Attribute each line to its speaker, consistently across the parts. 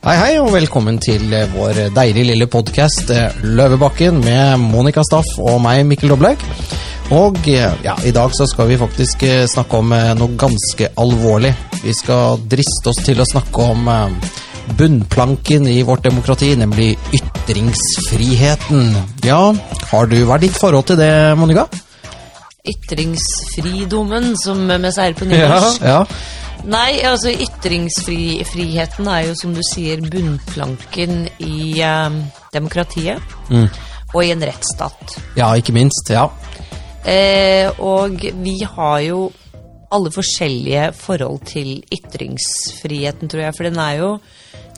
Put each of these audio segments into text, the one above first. Speaker 1: Hei, hei, og velkommen til eh, vår deilige lille podkast Løvebakken med Monica Staff og meg, Mikkel Doblaug. Og eh, ja, i dag så skal vi faktisk eh, snakke om eh, noe ganske alvorlig. Vi skal driste oss til å snakke om eh, bunnplanken i vårt demokrati, nemlig ytringsfriheten. Ja, har du hva er ditt forhold til det, Monica?
Speaker 2: Ytringsfridommen, som vi sier på nynorsk.
Speaker 1: ja.
Speaker 2: Nei, altså ytringsfriheten er jo, som du sier, bunnplanken i eh, demokratiet.
Speaker 1: Mm.
Speaker 2: Og i en rettsstat.
Speaker 1: Ja, ikke minst. Ja.
Speaker 2: Eh, og vi har jo alle forskjellige forhold til ytringsfriheten, tror jeg. For den er jo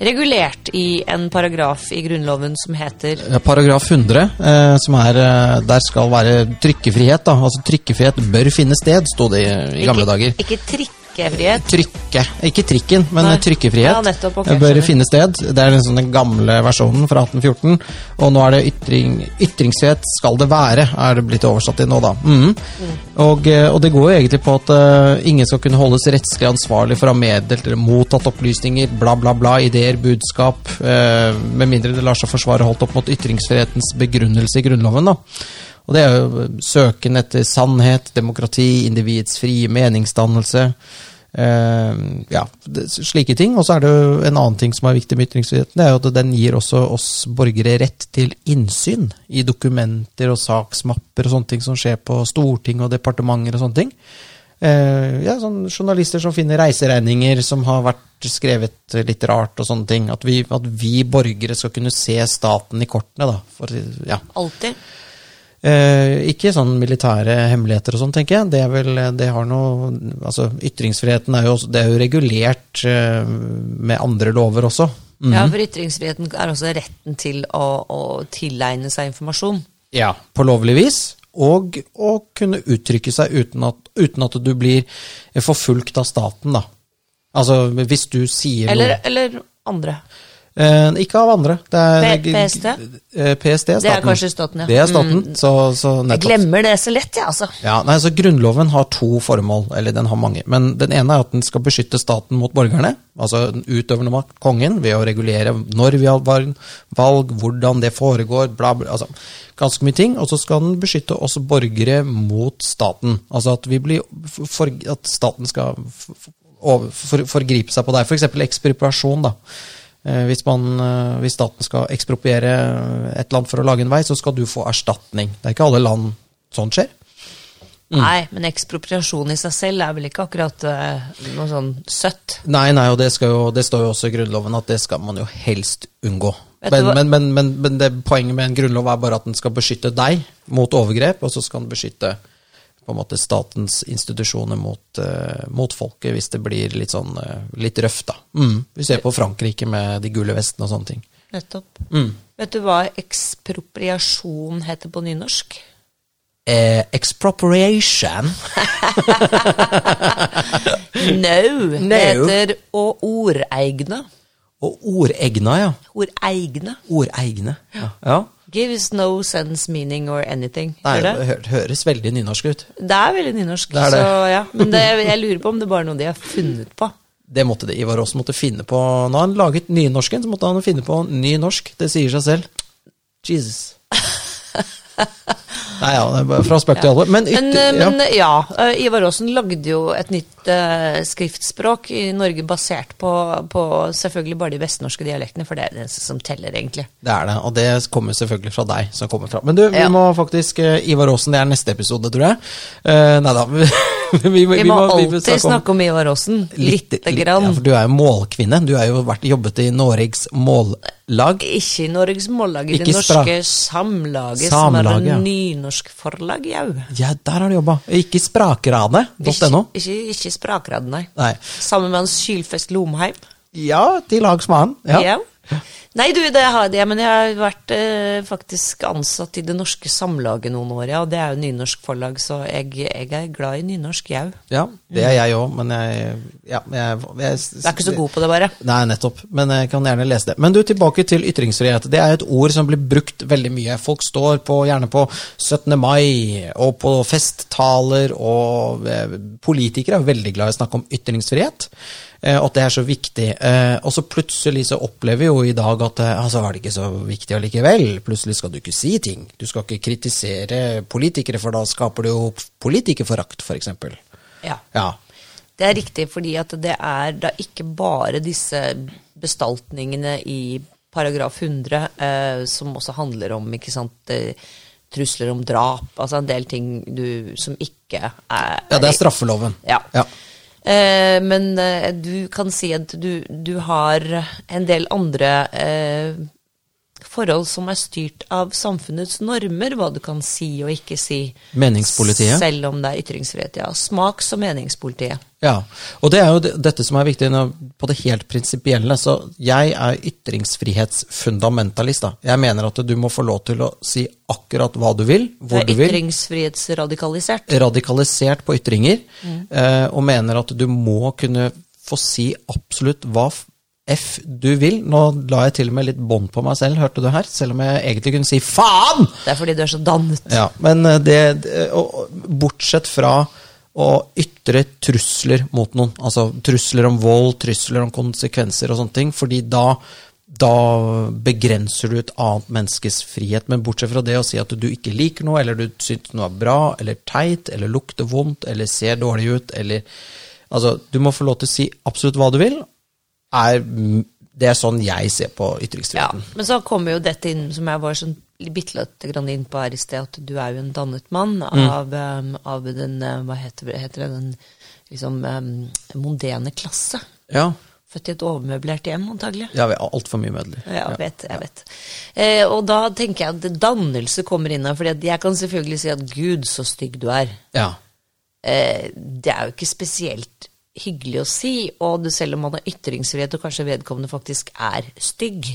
Speaker 2: regulert i en paragraf i Grunnloven som heter
Speaker 1: Paragraf 100, eh, som er eh, Der skal være trykkefrihet, da. Altså trykkefrihet bør finne sted, sto det i, i gamle dager.
Speaker 2: Ikke, ikke trikkefrihet.
Speaker 1: Trykke. Ikke trikken, men
Speaker 2: Nei.
Speaker 1: trykkefrihet.
Speaker 2: Ja, nettopp, ok,
Speaker 1: eh, bør
Speaker 2: skjønner.
Speaker 1: finne sted. Det er liksom den gamle versjonen fra 1814. Og nå er det ytring, ytringsfrihet skal det være, er det blitt oversatt til nå, da. Mhm.
Speaker 2: Mm.
Speaker 1: Og, eh, og det går jo egentlig på at eh, ingen skal kunne holdes rettslig ansvarlig for å ha meddelt eller mottatt opplysninger, bla, bla, bla, ideer, budskap, eh, med mindre det lar seg forsvare holdt opp mot ytringsfrihetens begrunnelse i Grunnloven, da. Og det er jo søken etter sannhet, demokrati, individets frie meningsdannelse. Eh, ja, det, slike ting. Og så er det jo en annen ting som er viktig med ytringsfriheten, det er jo at den gir også oss borgere rett til innsyn i dokumenter og saksmapper og sånne ting som skjer på storting og departementer og sånne ting. Eh, ja, sånn Journalister som finner reiseregninger som har vært skrevet litt rart og sånne ting. At vi, at vi borgere skal kunne se staten i kortene, da. For, ja.
Speaker 2: Alltid.
Speaker 1: Eh, ikke sånn militære hemmeligheter og sånn, tenker jeg. Det er vel, det har noe, altså Ytringsfriheten er jo, også, det er jo regulert eh, med andre lover også. Mm.
Speaker 2: Ja, for ytringsfriheten er også retten til å, å tilegne seg informasjon.
Speaker 1: Ja, på lovlig vis. Og å kunne uttrykke seg uten at, uten at du blir eh, forfulgt av staten, da. Altså, hvis du sier
Speaker 2: Eller,
Speaker 1: noe
Speaker 2: eller andre.
Speaker 1: Eh, Ikke av andre. Det er,
Speaker 2: P- PST?
Speaker 1: Eh, PST er staten.
Speaker 2: Det er kanskje staten, ja.
Speaker 1: Det er staten,
Speaker 2: Mm.
Speaker 1: så, så
Speaker 2: Jeg
Speaker 1: nettopp.
Speaker 2: glemmer det så lett, jeg, altså.
Speaker 1: Ja, nei, så Grunnloven har to formål, eller den har mange. Men den ene er at den skal beskytte staten mot borgerne, altså den utøvende makt, kongen, ved å regulere når vi har valg, valg, hvordan det foregår, bla, bla. Altså, ganske mye ting. Og så skal den beskytte oss borgere mot staten. Altså at, vi blir, for, at staten skal f- f- over- for, forgripe seg på deg. F.eks. ekspropriasjon, da. Eh, Hvis, man, eh, hvis staten skal ekspropriere et land for å lage en vei, så skal du få erstatning. Det er ikke alle land sånt skjer. Mm.
Speaker 2: Nei, men ekspropriasjon i seg selv er vel ikke akkurat eh, noe sånn søtt.
Speaker 1: Nei, nei, og det, skal jo, det står jo også i Grunnloven at det skal man jo helst unngå.
Speaker 2: Vet
Speaker 1: Men,
Speaker 2: du hva-
Speaker 1: men, men, men, men det, poenget med en grunnlov er bare at den skal beskytte deg mot overgrep, og så skal den beskytte på en måte statens institusjoner mot, eh, mot folket hvis det blir litt sånn eh, litt røft, da. Mm. Vi ser på Frankrike med de gule vestene og sånne ting.
Speaker 2: Nettopp.
Speaker 1: Mm.
Speaker 2: Vet du hva ekspropriasjon heter på nynorsk?
Speaker 1: Eh, expropriation.
Speaker 2: No.
Speaker 1: No.
Speaker 2: Det heter å ordegne.
Speaker 1: Og ordegna, ja.
Speaker 2: Ordegne.
Speaker 1: Ordegne. Ja. ja.
Speaker 2: Gives no sense, meaning or anything.
Speaker 1: Nei,
Speaker 2: Hører du?
Speaker 1: det hø- høres veldig nynorsk ut.
Speaker 2: Det er veldig nynorsk.
Speaker 1: Det er det.
Speaker 2: Så, ja. Men det, jeg lurer på om det bare er noe de har funnet på.
Speaker 1: Det måtte det. Ivar Aasen måtte finne på Når han laget nynorsken, så måtte han finne på ny norsk. Det sier seg selv. Jesus. Nei, ja, det er bare fra spøk til alvor. Men,
Speaker 2: Men,
Speaker 1: ytter,
Speaker 2: eh,
Speaker 1: ja.
Speaker 2: men eh, ja, eh, Ivar Aasen lagde jo et nytt eh, skriftspråk i Norge basert på, på selvfølgelig bare de vestnorske dialektene, for det er det eneste som teller, egentlig.
Speaker 1: det er det. Og det kommer selvfølgelig fra deg. som kommer fra. Men du, vi
Speaker 2: Ja.
Speaker 1: må faktisk eh, Ivar Aasen, det er neste episode, tror jeg. Uh, nei da. Vi, vi,
Speaker 2: Vi,
Speaker 1: vi
Speaker 2: må,
Speaker 1: vi
Speaker 2: alltid snakke om, Ivar Aasen, lite grann.
Speaker 1: Ja, for du er jo målkvinne. Du har jo vært, jobbet i Noregs mållag.
Speaker 2: Ikke i Norges Mållag, i det
Speaker 1: Ikke stra-
Speaker 2: norske samlaget,
Speaker 1: Samlaget,
Speaker 2: som er
Speaker 1: ja.
Speaker 2: en nynorsk forlag, jau.
Speaker 1: Ja, der har du jobba. Ikke i sprakranet.no.
Speaker 2: Ikke, ikke, ikke Sprakrad, nei.
Speaker 1: Nei.
Speaker 2: Sammen med han Sylfest Lomheim.
Speaker 1: Ja, til lags med han. Ja.
Speaker 2: Ja. Nei, du, det har jeg, men jeg har vært eh, faktisk ansatt i Det Norske Samlaget noen år, ja. Og det er jo nynorsk forlag, så jeg, jeg er glad i nynorsk, jau.
Speaker 1: Ja, det er jeg òg, men jeg, ja, jeg, jeg
Speaker 2: Du er ikke så god på det, bare.
Speaker 1: Nei, nettopp. Men jeg kan gjerne lese det. Men du, tilbake til ytringsfrihet. Det er et ord som blir brukt veldig mye. Folk står på, gjerne på 17. mai og på festtaler, og eh, politikere er veldig glad i å snakke om ytringsfrihet. eh, og at det er så viktig. Eh, og så plutselig så opplever vi jo i dag at eh, altså er det ikke så viktig allikevel. Plutselig skal du ikke si ting. Du skal ikke kritisere politikere, for da skaper du jo politikerforakt, f.eks.
Speaker 2: Ja.
Speaker 1: Ja.
Speaker 2: Det er riktig, fordi at det er da ikke bare disse bestaltningene i paragraf 100 eh, som også handler om ikke sant, eh, trusler om drap, altså en del ting du, som ikke er
Speaker 1: ja, det er straffeloven.
Speaker 2: Ja.
Speaker 1: Ja.
Speaker 2: Eh, men eh, du kan si at du, du har en del andre eh, forhold som er styrt av samfunnets normer, hva du kan si og ikke si.
Speaker 1: Meningspolitiet.
Speaker 2: Selv om det er ytringsfrihet, ja. Smaks- og meningspolitiet.
Speaker 1: Ja, og det er jo det- dette som er viktig nå, på det helt prinsipielle. Så jeg er ytringsfrihetsfundamentalist. da. Jeg mener at du må få lov til å si akkurat hva du vil,
Speaker 2: Du
Speaker 1: hvor
Speaker 2: er
Speaker 1: du vil.
Speaker 2: ytringsfrihetsradikalisert.
Speaker 1: Radikalisert på ytringer. eh, Og mener at du må kunne få si absolutt hva f- f du vil. Nå la jeg til og med litt bånd på meg selv, hørte du her? Selv om jeg egentlig kunne si faen!
Speaker 2: Det er fordi du er så dannet.
Speaker 1: Ja, men eh, det, det- og- og bortsett fra å ytre trusler mot noen, altså trusler om vold, trusler om konsekvenser og sånne ting, fordi da, da begrenser du et annet menneskes frihet. Men bortsett fra det å si at du ikke liker noe, eller du syns noe er bra, eller teit, eller lukter vondt, eller ser dårlig ut, eller Altså, du må få lov til å si absolutt hva du vil. Er, det er sånn jeg ser på
Speaker 2: Ja,
Speaker 1: ytringsfriheten.
Speaker 2: Men så kommer jo dette inn, som jeg var sånn bitte lite grann inn på her i sted, at du er jo en dannet mann av, um, av den eh, Hva heter, det- heter det? Den liksom um, mondene klasse.
Speaker 1: Ja.
Speaker 2: Født i et overmøblert hjem, antagelig.
Speaker 1: Ja, vi har altfor mye mødler.
Speaker 2: Ja, jeg vet, jeg vet. Eh, og da tenker jeg at dannelse kommer inn her, for jeg kan selvfølgelig si at 'Gud, så stygg du er'.
Speaker 1: Ja.
Speaker 2: eh, det er jo ikke spesielt hyggelig å si, og det, selv om man har ytringsfrihet, og kanskje vedkommende faktisk er stygg,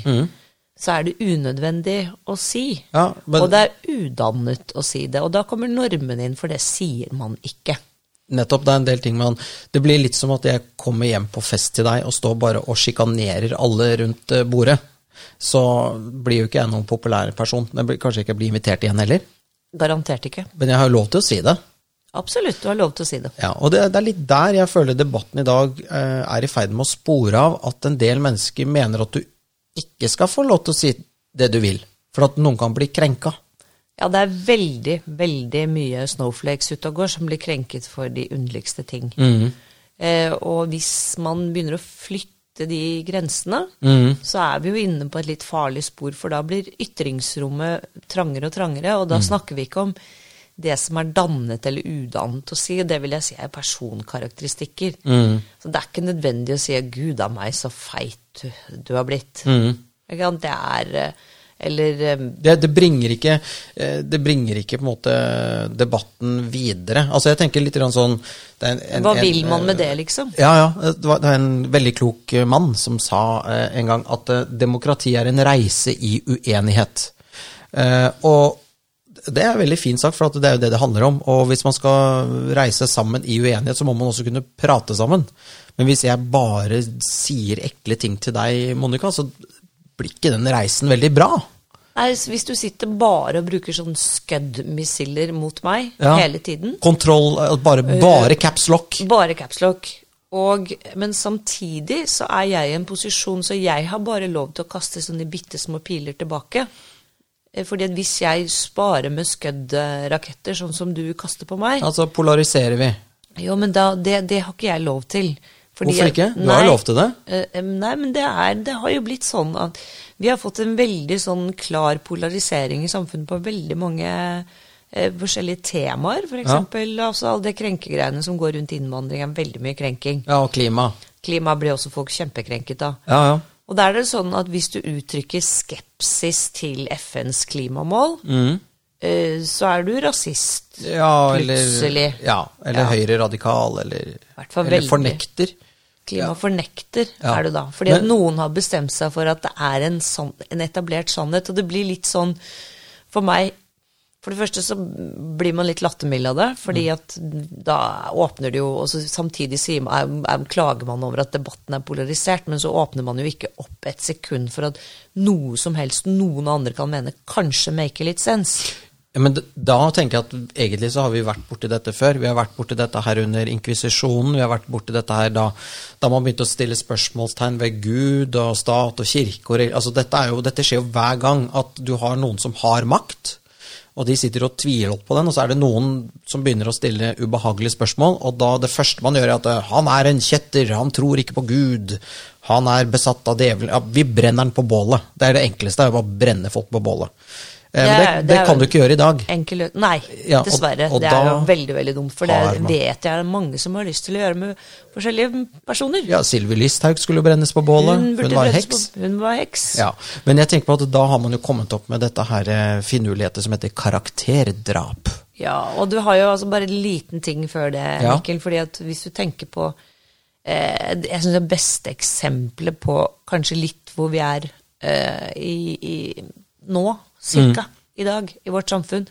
Speaker 2: så er det unødvendig å si.
Speaker 1: Mm. Ja, men-
Speaker 2: Og det er udannet å si det, og da kommer normen inn, for det sier man ikke.
Speaker 1: Nettopp, det er en del ting man Det blir litt som at jeg kommer hjem på fest til deg og står bare og sjikanerer alle rundt eh, bordet. Så blir jo ikke jeg noen populær person. Jeg blir, kanskje ikke jeg blir invitert igjen heller.
Speaker 2: Garantert ikke.
Speaker 1: Men jeg har jo lov til å si det.
Speaker 2: Absolutt, du har lov til å si det.
Speaker 1: Ja, og det, det er litt der jeg føler debatten i dag eh, er i ferd med å spore av at en del mennesker mener at du ikke skal få lov til å si det du vil. For at noen kan bli krenka.
Speaker 2: Ja, det er veldig, veldig mye snowflakes ute og går som blir krenket for de underligste ting. Eh, og hvis man begynner å flytte de grensene, så er vi jo inne på et litt farlig spor, for da blir ytringsrommet trangere og trangere, og da snakker vi ikke om det som er dannet eller udannet å si, og det vil jeg si er personkarakteristikker. Så det er ikke nødvendig å si 'Gud a meg, så feit du, du har blitt'. Ikke sant? Det er eh, Eller eh,
Speaker 1: det, det bringer ikke eh, Det bringer ikke på en måte debatten videre. Altså jeg tenker litt grann sånn det er en, en, eh,
Speaker 2: Hva
Speaker 1: en-
Speaker 2: vil man med det, liksom?
Speaker 1: Ja, ja. Det var det var en veldig klok eh, mann som sa eh, en gang at eh, demokrati er en reise i uenighet. Eh, og det er veldig fint sagt, for at det er jo det det handler om. Og hvis man skal reise sammen i uenighet, så må man også kunne prate sammen. Men hvis jeg bare sier ekle ting til deg, Monica, så blir ikke den reisen veldig bra.
Speaker 2: Nei, s- Hvis du sitter bare og bruker sånn skudd-missiler mot meg
Speaker 1: Ja.
Speaker 2: hele tiden, Øh,
Speaker 1: Kontroll, eh, bare, bare caps lock.
Speaker 2: bare capslock, og, men samtidig så er jeg i en posisjon så jeg har bare lov til å kaste sånne bitte små piler tilbake. Eh, Fordi at hvis jeg sparer med skudd-raketter, sånn som du kaster på meg
Speaker 1: Altså polariserer vi.
Speaker 2: Jo, men da, det, det har ikke jeg lov til. Fordi
Speaker 1: Hvorfor
Speaker 2: jeg-
Speaker 1: ikke? Du har
Speaker 2: Nei.
Speaker 1: lov til det.
Speaker 2: Eh, em, Nei, men det, er, det har jo blitt sånn at vi har fått en veldig sånn klar polarisering i samfunnet på veldig mange eh, forskjellige temaer. For eksempel altså, alle de krenkegreiene som går rundt innvandring, er veldig mye krenking.
Speaker 1: Ja, og klima.
Speaker 2: Klima blir også folk kjempekrenket av.
Speaker 1: Ja, ja.
Speaker 2: Og da er det sånn at hvis du uttrykker skepsis til FNs klimamål,
Speaker 1: Mm.
Speaker 2: eh, så er du rasist.
Speaker 1: Ja, eller,
Speaker 2: Plutselig.
Speaker 1: Ja, eller
Speaker 2: Ja.
Speaker 1: høyre radikal, eller,
Speaker 2: Hvertfall
Speaker 1: eller
Speaker 2: veldig.
Speaker 1: fornekter.
Speaker 2: Klimafornekter
Speaker 1: Ja.
Speaker 2: er du da. Fordi at
Speaker 1: Men-
Speaker 2: noen har bestemt seg for at det er en, sann- en etablert sannhet. Og det blir litt sånn for meg For det første så blir man litt lattermild av det. fordi
Speaker 1: Mm.
Speaker 2: at da åpner det jo Og så samtidig sier man, er, er, klager man over at debatten er polarisert, men så åpner man jo ikke opp et sekund for at noe som helst noen andre kan mene, kanskje maker litt sens.
Speaker 1: Ja, Men d- da tenker jeg at egentlig så har vi vært borti dette før. Vi har vært borti dette her under inkvisisjonen. Vi har vært borti dette her da, da man begynte å stille spørsmålstegn ved Gud og stat og kirke. Og, re- altså dette, er jo, dette skjer jo hver gang at du har noen som har makt, og de sitter og tviler på den, og så er det noen som begynner å stille ubehagelige spørsmål, og da det første man gjør er at eh, han er en kjetter, han tror ikke på Gud, han er besatt av djevelen. Ja, vi brenner han på bålet. Det er det enkleste, det er jo bare å brenne folk på bålet. Eh, men
Speaker 2: Det
Speaker 1: det,
Speaker 2: er- det
Speaker 1: det
Speaker 2: er
Speaker 1: kan
Speaker 2: jo-
Speaker 1: du ikke gjøre i dag.
Speaker 2: Enkel lø- Nei,
Speaker 1: Ja, og-
Speaker 2: dessverre.
Speaker 1: og
Speaker 2: det er jo
Speaker 1: da
Speaker 2: veldig veldig dumt. For
Speaker 1: har
Speaker 2: det
Speaker 1: man-
Speaker 2: vet jeg er mange som har lyst til å gjøre med forskjellige personer.
Speaker 1: Ja, Sylvi Listhaug skulle brennes på bålet. Hun,
Speaker 2: burde
Speaker 1: var
Speaker 2: dreves
Speaker 1: heks.
Speaker 2: på- Hun var heks.
Speaker 1: Ja, Men jeg tenker på at da har man jo kommet opp med dette her eh, finurligheter som heter karakterdrap.
Speaker 2: Ja, og du har jo altså bare en liten ting før det,
Speaker 1: Ja.
Speaker 2: Mikkel. fordi at hvis du tenker på eh, Jeg syns det beste eksempelet på kanskje litt hvor vi er eh, i, i nå, cirka,
Speaker 1: Mm.
Speaker 2: i dag, i vårt samfunn,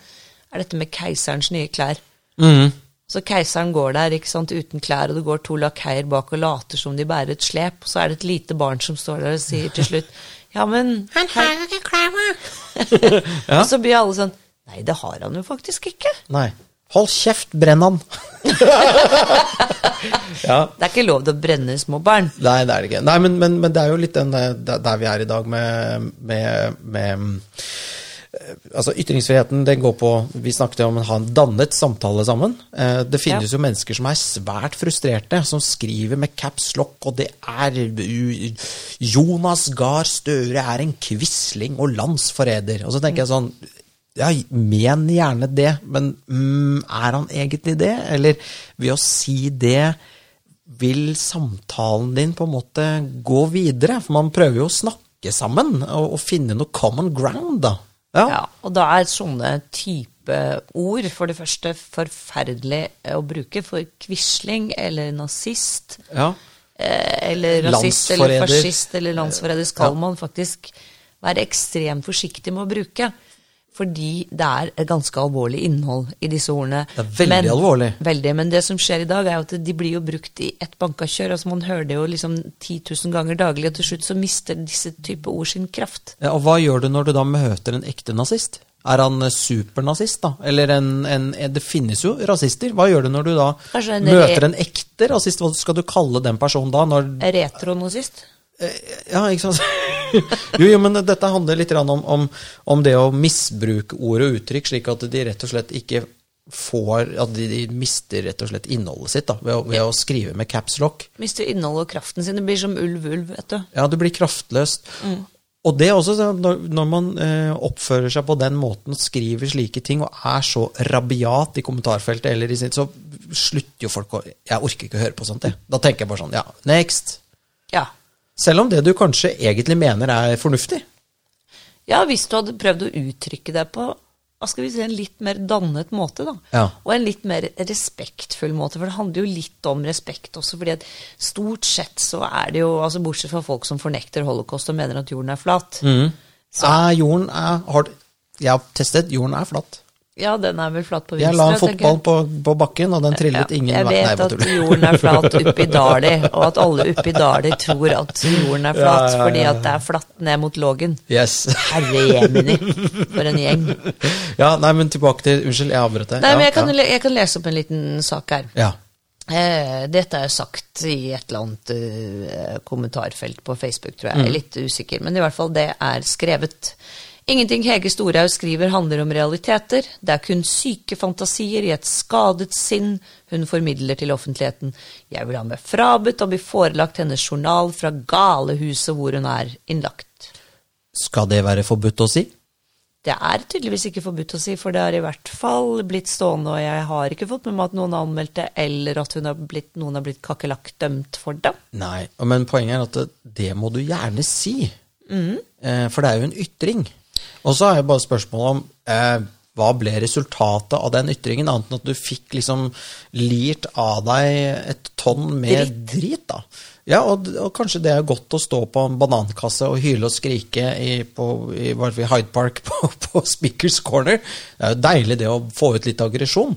Speaker 2: er dette med keiserens nye klær.
Speaker 1: Mm.
Speaker 2: Så keiseren går der ikke sant, uten klær, og det går to lakeier bak og later som de bærer et slep. Og så er det et lite barn som står der og sier til slutt Ja, men Han har jo ikke klær,
Speaker 1: Ja.
Speaker 2: Og så blir alle sånn Nei, det har han jo faktisk ikke.
Speaker 1: Nei. Hold kjeft, brenn han! ja.
Speaker 2: Det er ikke lov til å brenne små barn.
Speaker 1: Nei, det er det ikke. Nei, men, men, men det er jo litt den eh, der der vi er i dag med, med, med mm, eh, Altså, ytringsfriheten den går på Vi snakket jo om å ha en dannet samtale sammen. Eh, Det finnes jo mennesker som er svært frustrerte, som skriver med caps lock, og det er u- Jonas Gahr Støre er en quisling og landsforræder. Og så tenker jeg sånn ja, men gjerne det, men mm, er han egentlig det? Eller ved å si det vil samtalen din på en måte gå videre? For man prøver jo å snakke sammen og, og finne noe common ground, da. Ja.
Speaker 2: Ja, og da er sånne type ord for det første forferdelig eh, å bruke for quisling eller nazist.
Speaker 1: Ja.
Speaker 2: eh, Eller rasist eller
Speaker 1: Landsforræder.
Speaker 2: fascist eller landsforræder skal man faktisk være ekstremt forsiktig med å bruke. Fordi det er et ganske alvorlig innhold i disse ordene.
Speaker 1: Det er veldig alvorlig.
Speaker 2: Veldig, Men det som skjer i dag, er jo at de blir jo brukt i ett bankakjør. altså Man hører det jo liksom 10 000 ganger daglig, og til slutt så mister disse type ord sin kraft.
Speaker 1: Ja, Og hva gjør du når du da møter en ekte nazist? Er han eh, supernazist, da? Eller en, en, en Det finnes jo rasister. Hva gjør du når du da
Speaker 2: Kanskje en re-
Speaker 1: møter en ekte rasist? Hva skal du kalle den personen da? Når,
Speaker 2: Retronazist?
Speaker 1: Ja, ikke sant? jo, jo, men dette handler litt grann om, om, om det å misbruke ord og uttrykk, slik at de rett og slett ikke får At de, de mister rett og slett innholdet sitt da, ved, å- ved å skrive med caps lock.
Speaker 2: Mister innholdet og kraften sin. Det blir som ulv, ulv, vet du.
Speaker 1: Ja, du blir kraftløs.
Speaker 2: Mm.
Speaker 1: Og det er også sånn, når, når man eh, oppfører seg på den måten, skriver slike ting og er så rabiat i kommentarfeltet, eller i sitt, så slutter jo folk å Jeg orker ikke å høre på sånt, jeg. Da tenker jeg bare sånn, ja, next.
Speaker 2: Ja.
Speaker 1: Selv om det du kanskje egentlig mener er fornuftig.
Speaker 2: ja, hvis du hadde prøvd å uttrykke deg på hva skal vi si, en litt mer dannet måte, da.
Speaker 1: Ja.
Speaker 2: Og en litt mer respektfull måte, for det handler jo litt om respekt også. fordi at stort sett så er det jo, altså bortsett fra folk som fornekter holocaust og mener at jorden er flat.
Speaker 1: Mm. Er jorden er, har, Jeg har testet, jorden er flatt.
Speaker 2: Ja, den er vel flat på
Speaker 1: Jeg
Speaker 2: venstre.
Speaker 1: la en
Speaker 2: tenker
Speaker 1: fotball på, på bakken, og den trillet ingen
Speaker 2: jeg
Speaker 1: vei.
Speaker 2: vet
Speaker 1: Nei, bare
Speaker 2: at
Speaker 1: tuller.
Speaker 2: jorden er flat oppi Dali, og at alle oppi Dali tror at jorden er
Speaker 1: Ja,
Speaker 2: flat
Speaker 1: ja, ja,
Speaker 2: fordi
Speaker 1: ja.
Speaker 2: at det er flatt ned mot Lågen.
Speaker 1: Yes.
Speaker 2: Herre jemini, for en gjeng.
Speaker 1: Ja, nei, men tilbake til Unnskyld, jeg avbrøt deg.
Speaker 2: Nei,
Speaker 1: ja,
Speaker 2: men jeg kan,
Speaker 1: ja.
Speaker 2: le- jeg kan lese opp en liten sak her.
Speaker 1: ja.
Speaker 2: Eh, dette er sagt i et eller annet eh, kommentarfelt på Facebook, tror jeg. Jeg er litt usikker, men i hvert fall det er skrevet. Ingenting Hege Storhaug skriver handler om realiteter. Det er kun syke fantasier i et skadet sinn hun formidler til offentligheten. Jeg vil ha meg frabedt å bli forelagt hennes journal fra galehuset hvor hun er innlagt.
Speaker 1: Skal det være forbudt å si?
Speaker 2: Det er tydeligvis ikke forbudt å si, for det har i hvert fall blitt stående, og jeg har ikke fått med meg at noen har anmeldt det, eller at hun har blitt, noen har blitt kakerlakkdømt for det.
Speaker 1: Nei, men poenget er at det, det må du gjerne si. Eh, for det er jo en ytring. Og så er jo bare spørsmålet om eh, hva ble resultatet av den ytringen, annet enn at du fikk liksom lirt av deg et tonn med dritt, da. Ja, og, og kanskje det er godt å stå på en banankasse og hyle og skrike i, på, i, hva er det, Hyde Park på, på Speakers Corner. Det er jo deilig det å få ut litt aggresjon.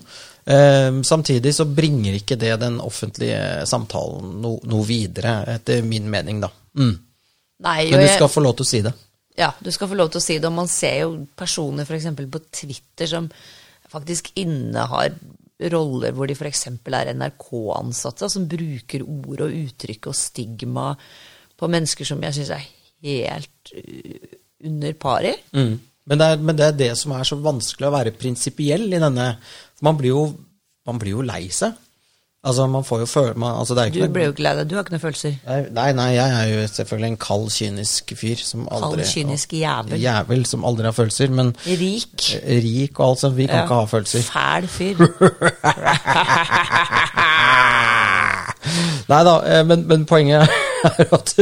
Speaker 1: Eh, samtidig så bringer ikke det den offentlige samtalen no, noe videre, etter min mening, da. Mm.
Speaker 2: Nei, og
Speaker 1: Men du
Speaker 2: jeg,
Speaker 1: skal få lov til å si det.
Speaker 2: Ja, du skal få lov til å si det. Og man ser jo personer for eksempel på Twitter som faktisk innehar roller hvor de f.eks. er NRK-ansatte, som bruker ord og uttrykk og stigma på mennesker som jeg syns er helt uh, under pari.
Speaker 1: Men, det er, men det er det som er så vanskelig å være prinsipiell i denne for Man blir jo, man blir jo lei seg. Altså, man får jo føle man, altså, det er
Speaker 2: Du
Speaker 1: ikke noe-
Speaker 2: ble jo ikke lei deg, du har ikke noen følelser.
Speaker 1: Nei, nei, nei, jeg er jo selvfølgelig en kald, kynisk fyr som aldri
Speaker 2: kynisk jævel.
Speaker 1: Jævel som aldri har følelser, men
Speaker 2: Rik.
Speaker 1: rik og alt sånt, vi kan
Speaker 2: Ja.
Speaker 1: ikke ha følelser.
Speaker 2: Fæl fyr.
Speaker 1: Nei da, eh, men, men poenget er at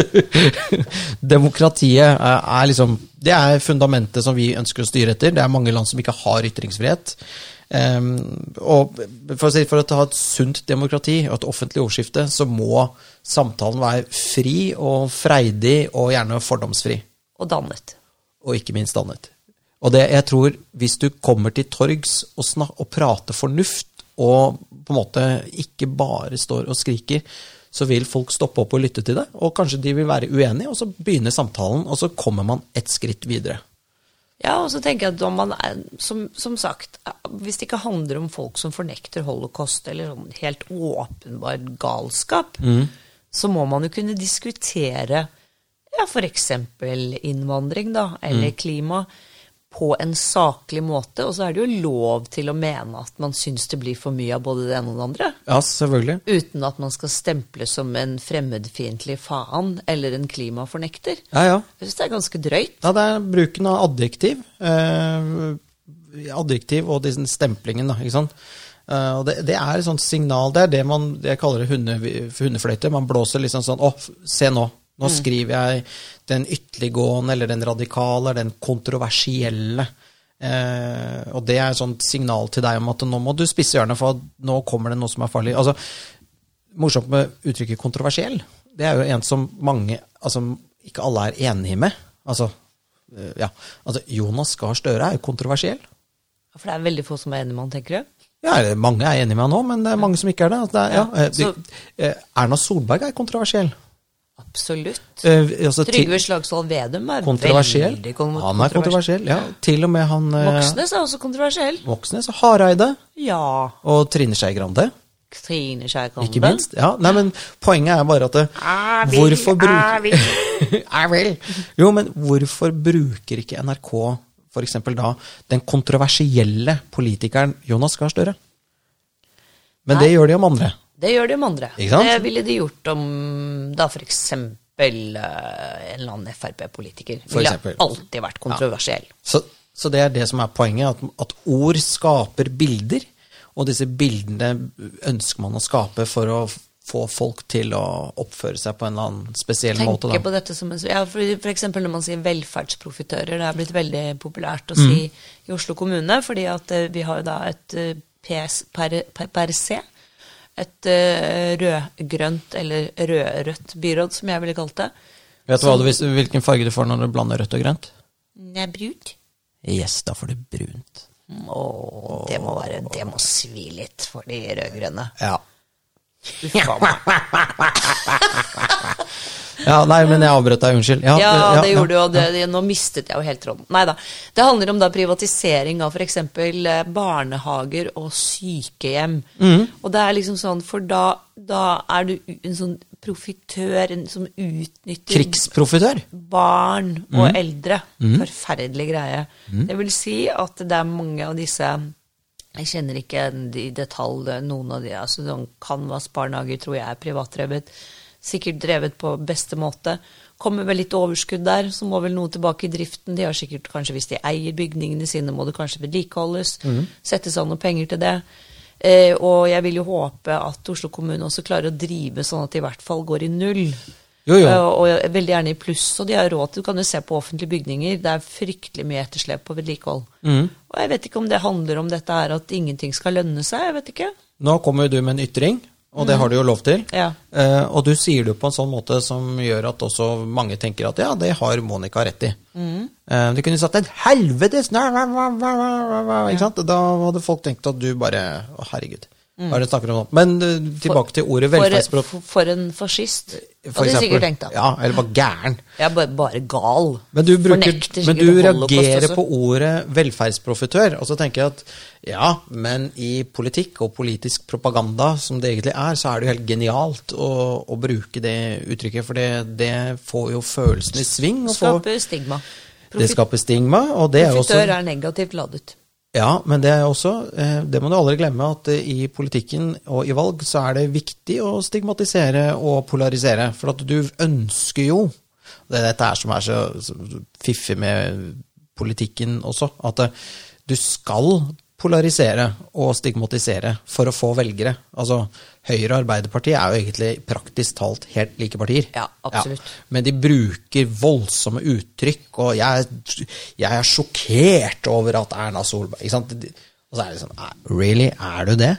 Speaker 1: demokratiet er, er liksom Det er fundamentet som vi ønsker å styre etter. Det er mange land som ikke har ytringsfrihet. Ehm, og for å, si, for å ta et sunt demokrati og et offentlig ordskifte, så må samtalen være fri og freidig og gjerne fordomsfri.
Speaker 2: Og dannet.
Speaker 1: og ikke minst annet. Og det jeg tror, hvis du kommer til torgs og, snak, og prater fornuft, og på en måte ikke bare står og skriker, så vil folk stoppe opp og lytte til deg, og kanskje de vil være uenige, og så begynner samtalen, og så kommer man ett skritt videre.
Speaker 2: Ja, og så tenker jeg at om man er, som, som sagt, hvis det ikke handler om folk som fornekter holocaust, eller sånn helt åpenbar galskap, så må man jo kunne diskutere ja, f.eks. innvandring, da, eller klima, på en saklig måte. Og så er det jo lov til å mene at man syns det blir for mye av både det ene og det andre.
Speaker 1: Ja, selvfølgelig.
Speaker 2: Uten at man skal stemple som en fremmedfiendtlig faen eller en klimafornekter.
Speaker 1: Ja, ja.
Speaker 2: Jeg syns det er ganske drøyt.
Speaker 1: Ja, det er bruken av adjektiv. Eh, adjektiv og disse stemplingen, da. ikke sant? Eh, og det, det er et sånt signal. Det er det man det jeg kaller det hunde, hundefløyte. Man blåser liksom sånn Å, f- se nå. Nå skriver jeg den ytterliggående eller den radikale eller den kontroversielle. Eh, og det er et sånt signal til deg om at nå må du spisse ørene, for nå kommer det noe som er farlig. Altså, morsomt med uttrykket kontroversiell. Det er jo en som mange, altså ikke alle er enige med. Altså, øh, ja. altså Jonas Gahr Støre er jo kontroversiell.
Speaker 2: Ja, For det er veldig få som er enig med han, tenker du?
Speaker 1: Ja, eller mange er enige med han nå, men det er mange som ikke er det. Altså, det er, ja,
Speaker 2: Ja,
Speaker 1: eh,
Speaker 2: så-
Speaker 1: de- eh, Erna Solberg er kontroversiell.
Speaker 2: Absolutt.
Speaker 1: Eh, altså, til-
Speaker 2: Trygve Slagsvold Vedum er
Speaker 1: kontroversiell.
Speaker 2: veldig kon-
Speaker 1: Han er kontroversiell, ja. Til og med han eh,
Speaker 2: Moxnes er også kontroversiell.
Speaker 1: Moxnes og Hareide
Speaker 2: Ja.
Speaker 1: og Trine Skei Grande.
Speaker 2: Trine Skei Grande.
Speaker 1: Ikke minst. Ja, nei, men poenget er bare at det,
Speaker 2: Jeg Ah, vil,
Speaker 1: hvorfor
Speaker 2: jeg vil.
Speaker 1: bruker Jeg vil! Jo, men hvorfor bruker ikke NRK for eksempel da den kontroversielle politikeren Jonas Gahr Støre? Men det gjør de om andre.
Speaker 2: Det gjør de om andre.
Speaker 1: Ikke sant?
Speaker 2: Det ville de gjort om da for eksempel eh, en eller annen Frp-politiker.
Speaker 1: For
Speaker 2: Ville
Speaker 1: eksempel.
Speaker 2: alltid vært kontroversiell.
Speaker 1: Så, så det er det som er poenget, at, at ord skaper bilder, og disse bildene ønsker man å skape for å få folk til å oppføre seg på en eller annen spesiell måte.
Speaker 2: Tenke
Speaker 1: Da.
Speaker 2: på dette som en ja, for, for eksempel når man sier velferdsprofitører. Det er blitt veldig populært
Speaker 1: Mm.
Speaker 2: å si i Oslo kommune, fordi at eh, vi har jo da et eh, PS per, per, per se. Et eh, rød-grønt eller rød-rødt byråd, som jeg ville kalt det.
Speaker 1: Vet
Speaker 2: sånn-
Speaker 1: du hva du, vis- hvilken farge du får når du blander rødt og grønt?
Speaker 2: Det er brunt.
Speaker 1: Yes, da får du brunt.
Speaker 2: Åh, det må være Det må svi litt for de rød-grønne.
Speaker 1: Ja.
Speaker 2: Uff a meg.
Speaker 1: Ja, nei, men jeg avbrøt deg, unnskyld. Ja, eh,
Speaker 2: Ja,
Speaker 1: ja,
Speaker 2: det
Speaker 1: ja.
Speaker 2: gjorde du, og det, det, nå mistet jeg jo helt tråden. Nei da. Det handler om da privatisering av f.eks. barnehager og sykehjem.
Speaker 1: Mm.
Speaker 2: Og det er liksom sånn, for da, da er du u- en sånn profitør en som utnytter
Speaker 1: Krigsprofitør?
Speaker 2: barn og
Speaker 1: Mm.
Speaker 2: eldre. Forferdelig greie. Det vil si at det er mange av disse jeg kjenner ikke i detalj noen av de. altså Noen Canvas-barnehager tror jeg er privatdrevet. Sikkert drevet på beste måte. Kommer vel litt overskudd der, så må vel noe tilbake i driften. De har sikkert, kanskje Hvis de eier bygningene sine, må det kanskje vedlikeholdes.
Speaker 1: Mm.
Speaker 2: Settes av noen penger til det. Eh, og jeg vil jo håpe at Oslo kommune også klarer å drive sånn at de i hvert fall går i null.
Speaker 1: Jo, jo.
Speaker 2: Eh, og veldig gjerne i pluss. Og de har råd til Du kan jo se på offentlige bygninger. Det er fryktelig mye etterslep på vedlikehold.
Speaker 1: Mm.
Speaker 2: Og jeg vet ikke om det handler om dette her at ingenting skal lønne seg. Jeg vet ikke.
Speaker 1: Nå kommer jo du med en ytring, og det har du jo lov til.
Speaker 2: Mm. Ja.
Speaker 1: Eh, og du sier det jo på en sånn måte som gjør at også mange tenker at ja, det har Monica rett i.
Speaker 2: Mm.
Speaker 1: Eh, du kunne sagt et helvetes næ, næ, næ, næ, næ, næ, Ikke sant? Da hadde folk tenkt at du bare Å, herregud. Hva er det du snakker om nå? Men eh, tilbake til ordet
Speaker 2: Mm. For,
Speaker 1: velferdsprofitør.
Speaker 2: for, for en fascist.
Speaker 1: for
Speaker 2: Hadde du
Speaker 1: eksempel.
Speaker 2: sikkert tenkt da.
Speaker 1: Ja, eller var gæren.
Speaker 2: Jeg er bare, bare gal.
Speaker 1: Men du, bruker,
Speaker 2: Fornekter
Speaker 1: men
Speaker 2: sikkert
Speaker 1: du
Speaker 2: holocaust
Speaker 1: reagerer
Speaker 2: også.
Speaker 1: på ordet velferdsprofitør, og så tenker jeg at ja, men i politikk og politisk propaganda, som det egentlig er, så er det jo helt genialt å, å bruke det uttrykket, for det, det får jo følelsen i sving. Og får,
Speaker 2: Skaper stigma.
Speaker 1: det skaper stigma, og det er jo også
Speaker 2: Profitør er negativt ladet.
Speaker 1: Ja, men det er også, eh, det må du aldri glemme, at eh, i politikken og i valg så er det viktig å stigmatisere og polarisere. For at du ønsker jo Det er dette her som er så, så fiffig med politikken også. At eh, du skal polarisere og stigmatisere for å få velgere. Altså, Høyre og Arbeiderpartiet er jo egentlig praktisk talt helt like partier.
Speaker 2: Ja, absolutt.
Speaker 1: Men de bruker voldsomme uttrykk, og jeg, jeg er sjokkert over at Erna Solberg ikke sant? De- Og så er det sånn "Nei, Really? Er du det?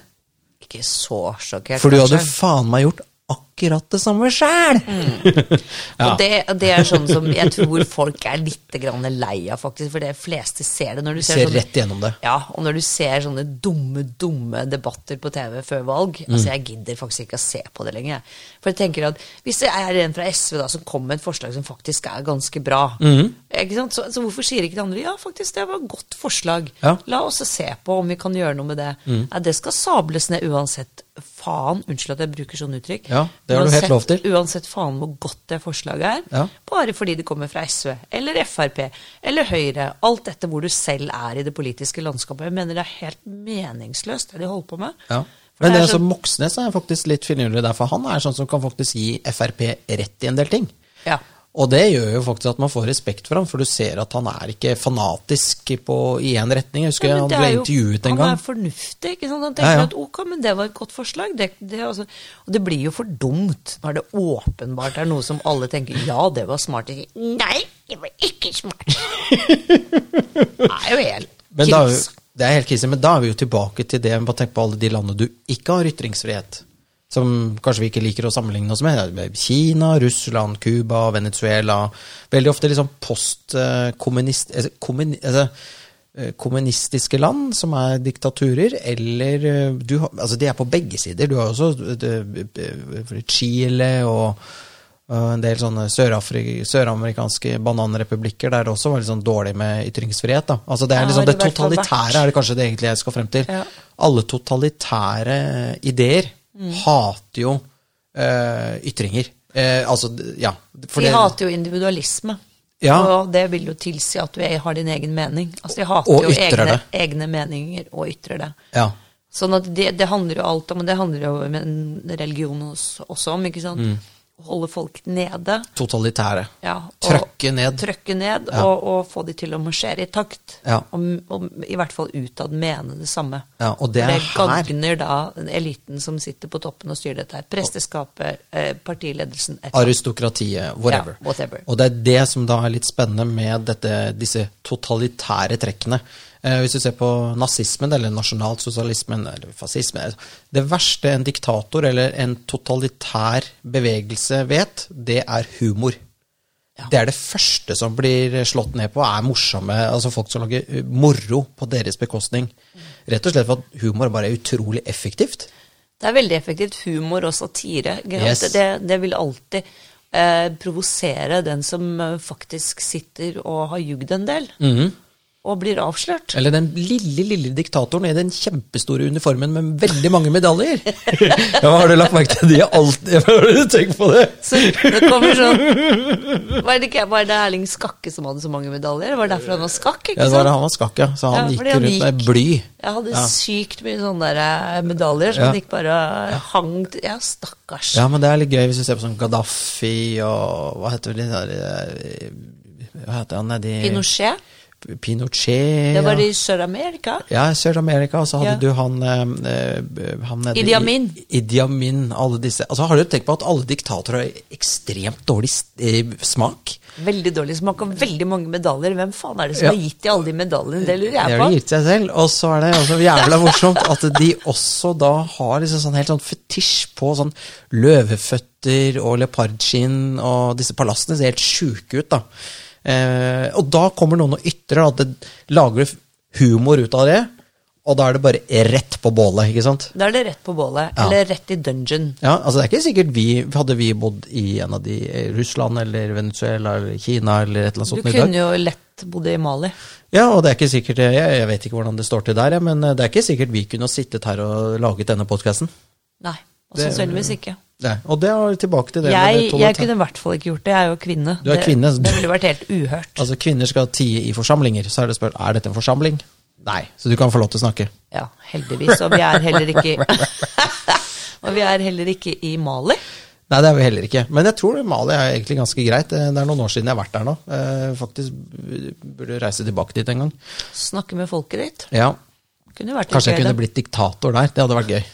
Speaker 2: Ikke så sjokkert.
Speaker 1: For du
Speaker 2: kanskje.
Speaker 1: hadde faen meg gjort akkurat det samme sjæl! ja.
Speaker 2: Mm. Og det, og det er sånn som jeg tror folk er litt grann lei av, faktisk. For de fleste ser det. Når du ser,
Speaker 1: Ser
Speaker 2: sånn-
Speaker 1: rett igjennom det.
Speaker 2: Ja, og når du ser sånne dumme, dumme debatter på TV før valg
Speaker 1: Mm.
Speaker 2: Altså, jeg gidder faktisk ikke å se på det lenger. jeg. For jeg tenker at hvis det er en fra SV da som kommer med et forslag som faktisk er ganske bra,
Speaker 1: Mm.
Speaker 2: ikke sant? Så, så hvorfor sier ikke de andre ja, faktisk, det var et godt forslag.
Speaker 1: Ja. Mm.
Speaker 2: La oss se på om vi kan gjøre noe med det. Ja, det skal sables ned uansett. Faen, unnskyld at jeg bruker sånne uttrykk.
Speaker 1: Ja, det har du helt
Speaker 2: Uansett-
Speaker 1: lov til.
Speaker 2: Uansett faen hvor godt det forslaget er,
Speaker 1: Ja.
Speaker 2: bare fordi det kommer fra SV, eller Frp, eller Høyre, alt etter hvor du selv er i det politiske landskapet. Jeg mener det er helt meningsløst, det de holder på med.
Speaker 1: Ja.
Speaker 2: For
Speaker 1: Men
Speaker 2: det
Speaker 1: det
Speaker 2: er sånn,
Speaker 1: som Moxnes er faktisk litt finurlig der, for han er sånn som kan faktisk gi Frp rett i en del ting.
Speaker 2: Ja.
Speaker 1: Og det gjør jo faktisk at man får respekt for ham, for du ser at han er ikke fanatisk på, i én retning. Jeg husker
Speaker 2: Ja, men
Speaker 1: han
Speaker 2: det
Speaker 1: ble
Speaker 2: er jo-
Speaker 1: intervjuet en gang.
Speaker 2: Han er fornuftig. ikke sant? Han tenker
Speaker 1: Ja, ja.
Speaker 2: at ok, men det var et godt forslag. Det, det, er altså, og det blir jo for dumt når det åpenbart er noe som alle tenker ja, det var smart. Jeg sier, Nei, det var ikke smart. det er jo helt
Speaker 1: Men da, er
Speaker 2: krise.
Speaker 1: jo- det er helt krise, men da er vi jo tilbake til det med å tenke på alle de landene du ikke har ytringsfrihet. Som kanskje vi ikke liker å sammenligne oss med. Det er Kina, Russland, Cuba, Venezuela. Veldig ofte liksom postkommunist... Altså, kommun- altså, eh, kommunistiske land som er diktaturer, eller eh, du, har- altså De er på begge sider. Du har jo også eh, eh, Chile og og en del sånne sørafri- søramerikanske bananrepublikker der det også var litt sånn dårlig med ytringsfrihet. da. Altså Det
Speaker 2: Ja,
Speaker 1: er liksom
Speaker 2: har
Speaker 1: det
Speaker 2: det i hvert fall
Speaker 1: totalitære er det kanskje det egentlig jeg skal frem til.
Speaker 2: Ja.
Speaker 1: Alle totalitære ideer
Speaker 2: Mm.
Speaker 1: hater jo eh, ytringer. Eh, altså, ja. for
Speaker 2: de
Speaker 1: det-
Speaker 2: hater jo individualisme.
Speaker 1: Ja.
Speaker 2: Og det vil jo tilsi at du er- har din egen mening. Altså, de hater
Speaker 1: Og
Speaker 2: jo
Speaker 1: ytrer
Speaker 2: egne,
Speaker 1: det.
Speaker 2: egne meninger og ytrer det.
Speaker 1: Ja.
Speaker 2: Sånn at det, det handler jo alt om, og det handler jo om en religion hos- også om,
Speaker 1: Mm.
Speaker 2: ikke sant. Å Holde folk nede.
Speaker 1: Totalitære.
Speaker 2: Ja, og-
Speaker 1: Trøkke ned.
Speaker 2: Trøkke ned,
Speaker 1: Ja.
Speaker 2: og, og få de til å marsjere i takt.
Speaker 1: Ja.
Speaker 2: Og, og i hvert fall utad mene det samme.
Speaker 1: Ja, og det er her.
Speaker 2: gagner da eliten som sitter på toppen og styrer dette her. Presteskapet, eh, partiledelsen, et
Speaker 1: Aristokratiet, whatever.
Speaker 2: Ja, whatever.
Speaker 1: Og det er det som da er litt spennende med dette, disse totalitære trekkene. Eh, hvis du ser på nazismen eller nasjonalsosialismen eller fascismen eh, Det verste en diktator eller en totalitær bevegelse vet, det er humor. Det er det første som blir slått ned på, er morsomme altså folk som lager eh, moro på deres bekostning.
Speaker 2: Mm.
Speaker 1: Rett og slett for at humor bare er utrolig effektivt.
Speaker 2: Det er veldig effektivt. Humor og satire. ikke sant?
Speaker 1: Yes.
Speaker 2: Det, det vil alltid eh, provosere den som eh, faktisk sitter og har jugd en del,
Speaker 1: Mhm.
Speaker 2: og blir avslørt.
Speaker 1: Eller den lille, lille diktatoren i den kjempestore uniformen med veldig mange medaljer. ja, har du lagt merke til de alltid Har du tenkt på det?
Speaker 2: Så det kommer sånn Var det ikke var det Erling Skakke som hadde så mange medaljer? Var det derfor han var skakk?
Speaker 1: Ja,
Speaker 2: ikke
Speaker 1: det var
Speaker 2: sant?
Speaker 1: det han var skakk, ja. Så han
Speaker 2: Ja, fordi
Speaker 1: gikk
Speaker 2: han
Speaker 1: rundt med
Speaker 2: gikk-
Speaker 1: bly.
Speaker 2: Jeg hadde sykt mye sånne der eh, medaljer som
Speaker 1: Ja.
Speaker 2: han ikke bare hang til Ja, stakkars.
Speaker 1: Ja, men det er litt gøy hvis du ser på sånn Gaddafi og Hva heter de der eh, Hva heter han nedi
Speaker 2: Pinochet.
Speaker 1: Pinochet.
Speaker 2: Det var
Speaker 1: ja.
Speaker 2: i Sør-Amerika.
Speaker 1: Ja, Sør-Amerika, og så hadde
Speaker 2: Ja.
Speaker 1: du han, eh, eh, han nede
Speaker 2: Idi Amin.
Speaker 1: i- Idi Amin, alle disse. Altså, har du tenkt på at alle diktatorer har ekstremt dårlig s- eh, smak?
Speaker 2: Veldig dårlig smak og veldig mange medaljer. Hvem faen er det som
Speaker 1: Ja.
Speaker 2: har gitt de alle de medaljene? Det lurer
Speaker 1: Det
Speaker 2: jeg
Speaker 1: har
Speaker 2: på.
Speaker 1: de gitt seg selv. Og så er det også jævla morsomt at de også da har liksom sånn helt sånn fetisj på sånn løveføtter og leopardskinn, og disse palassene ser helt sjuke ut, da. Eh, og da kommer noen og ytrer at det lager du humor ut av det, Og da er det bare rett på bålet, ikke sant?
Speaker 2: Da er det rett på bålet,
Speaker 1: Ja.
Speaker 2: eller rett i dungeon.
Speaker 1: Ja, altså det er ikke sikkert vi Hadde vi bodd i en av de eh, Russland eller Venezuela eller Kina eller et eller annet
Speaker 2: Du
Speaker 1: sånt i dag
Speaker 2: kunne jo lett bodd i Mali.
Speaker 1: Ja, og det er ikke sikkert jeg, jeg vet ikke hvordan det står til der, jeg, men eh, det er ikke sikkert vi kunne sittet her og laget denne podkasten.
Speaker 2: Nei, og
Speaker 1: Det-
Speaker 2: sannsynligvis ikke.
Speaker 1: Og det er tilbake til det med
Speaker 2: Jeg,
Speaker 1: det total-
Speaker 2: jeg kunne i hvert fall ikke gjort det, jeg er jo kvinne.
Speaker 1: Du er kvinne, så du-
Speaker 2: Det, det ville vært helt uhørt.
Speaker 1: Altså, kvinner skal tie i forsamlinger. Så er det spør, er dette en forsamling? Nei. Så du kan få lov til å snakke.
Speaker 2: Ja, heldigvis. Og vi er heller ikke Og vi er heller ikke i Mali.
Speaker 1: Nei, det er vi heller ikke. Men jeg tror Mali er egentlig ganske greit. Eh, Det er noen år siden jeg har vært der nå. Eh, Faktisk b- burde reise tilbake dit en gang.
Speaker 2: Snakke med folket ditt.
Speaker 1: Ja,
Speaker 2: Kunne vært
Speaker 1: Kanskje jeg
Speaker 2: litt gøy,
Speaker 1: kunne
Speaker 2: det.
Speaker 1: blitt diktator der. Det hadde vært gøy.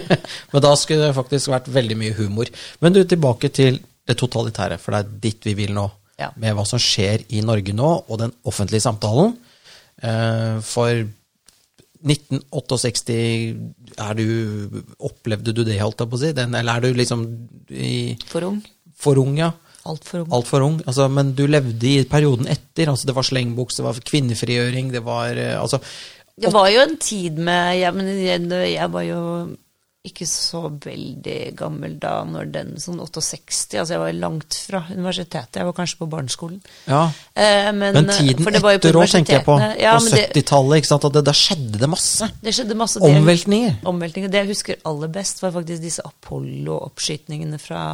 Speaker 1: Men da skulle det faktisk vært veldig mye humor. Men du, tilbake til det totalitære, for det er dit vi vil nå.
Speaker 2: Ja.
Speaker 1: Med hva som skjer i Norge nå, og den offentlige samtalen. Eh, For 1968 er du, Opplevde du det, holdt jeg på å si? Den, eller er du liksom i,
Speaker 2: For ung.
Speaker 1: for ung, ja?
Speaker 2: Altfor ung.
Speaker 1: Altfor ung. Altså, men du levde i perioden etter. altså Det var slengbukse, det var kvinnefrigjøring, det var eh, altså,
Speaker 2: Det var jo en tid med ja, men jeg, jeg var jo ikke så veldig gammel da, når den sånn 68 Altså, jeg var langt fra universitetet. Jeg var kanskje på barneskolen.
Speaker 1: ja.
Speaker 2: Eh, men,
Speaker 1: Men
Speaker 2: eh,
Speaker 1: tiden
Speaker 2: for det var jo på
Speaker 1: etter òg, tenker jeg på.
Speaker 2: universitetene. Ja,
Speaker 1: på
Speaker 2: men det,
Speaker 1: 70-tallet. ikke sant, at det- Da skjedde det masse.
Speaker 2: det skjedde masse det-
Speaker 1: Omveltninger.
Speaker 2: Omveltninger. Det jeg husker aller best, var faktisk disse Apollo-oppskytningene fra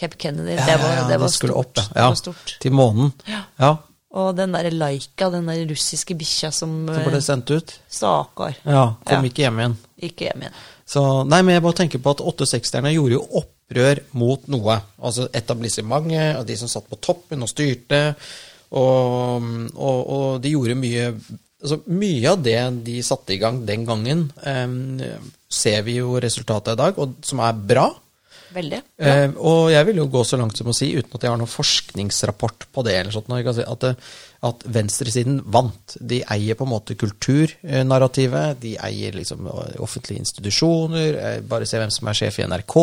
Speaker 2: Cape Kennedy.
Speaker 1: Ja,
Speaker 2: det var,
Speaker 1: ja, ja,
Speaker 2: det var
Speaker 1: skulle
Speaker 2: stort.
Speaker 1: opp, ja.
Speaker 2: det var stort.
Speaker 1: ja. Til månen. Ja.
Speaker 2: Og den derre Laika, den der russiske bikkja som eh,
Speaker 1: Så ble det sendt ut.
Speaker 2: Stakkar.
Speaker 1: Ja, Kom
Speaker 2: Ja.
Speaker 1: ikke hjem igjen.
Speaker 2: Ikke hjem igjen.
Speaker 1: Så, nei, men jeg bare tenker på at 68-erne gjorde jo opprør mot noe. Altså etablissementet og de som satt på toppen og styrte. Og, og, og de gjorde mye altså Mye av det de satte i gang den gangen, eh, ser vi jo resultatet av i dag, og, som er bra.
Speaker 2: Veldig.
Speaker 1: Eh, og jeg vil jo gå så langt som å si, uten at jeg har noen forskningsrapport på det, eller sånt, når jeg kan si at, eh, at venstresiden vant. De eier på en måte kulturnarrativet, de eier liksom eh, offentlige institusjoner, eh, bare se hvem som er sjef i NRK,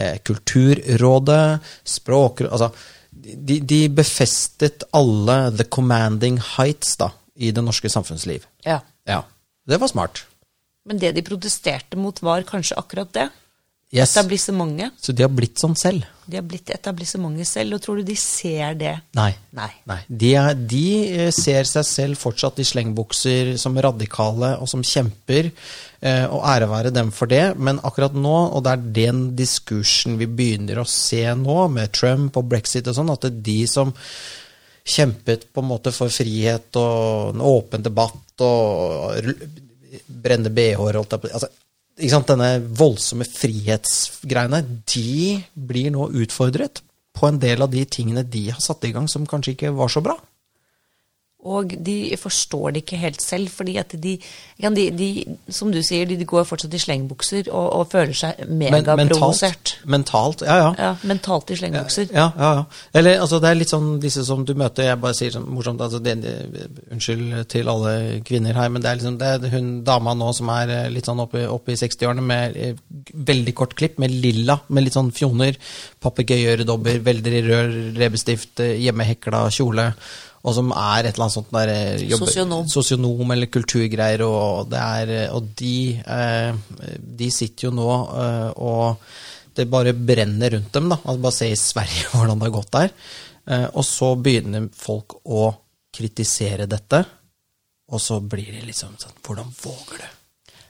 Speaker 1: eh, Kulturrådet, språk... Altså, de, de befestet alle the commanding heights da, i det norske samfunnsliv.
Speaker 2: Ja.
Speaker 1: Ja, det var smart.
Speaker 2: Men det de protesterte mot, var kanskje akkurat det.
Speaker 1: Yes.
Speaker 2: Etablissementet.
Speaker 1: Så de har blitt sånn selv.
Speaker 2: De har blitt etablissementet selv, og tror du de ser det?
Speaker 1: Nei.
Speaker 2: Nei.
Speaker 1: De, er, de eh, ser seg selv fortsatt i slengbukser som radikale og som kjemper, eh, og ære være dem for det, men akkurat nå, og det er den diskursen vi begynner å se nå, med Trump og brexit og sånn, at det er de som kjempet på en måte for frihet og en åpen debatt og rull- brenne BH-er holdt jeg på å si. altså, ikke sant, Denne voldsomme frihetsgreiene, de blir nå utfordret på en del av de tingene de har satt i gang som kanskje ikke var så bra.
Speaker 2: Og de forstår det ikke helt selv, fordi at de, ja, de, de Som du sier, de, de går fortsatt i slengbukser og, og føler seg
Speaker 1: Men-
Speaker 2: megaprovosert.
Speaker 1: mentalt, ja, ja.
Speaker 2: Ja, mentalt i slengbukser.
Speaker 1: Ja, ja, ja. Eller altså, det er litt sånn disse som du møter Jeg bare sier sånn morsomt altså, det, det, Unnskyld til alle kvinner her, men det er liksom det er hun dama nå som er eh, litt sånn oppe, oppe i 60-årene med eh, veldig kort klipp, med lilla, med litt sånn fjoner, papegøyeøredobber, veldig rød leppestift, eh, hjemmehekla kjole. Og som er et eller annet sånt der eh, jobber-
Speaker 2: Sosionom.
Speaker 1: sosionom eller kulturgreier, og, det er, og de, eh, de sitter jo nå eh, og det bare brenner rundt dem. da, altså Bare se i Sverige hvordan det har gått der. Eh, Og så begynner folk å kritisere dette, og så blir det liksom sånn Hvordan våger du?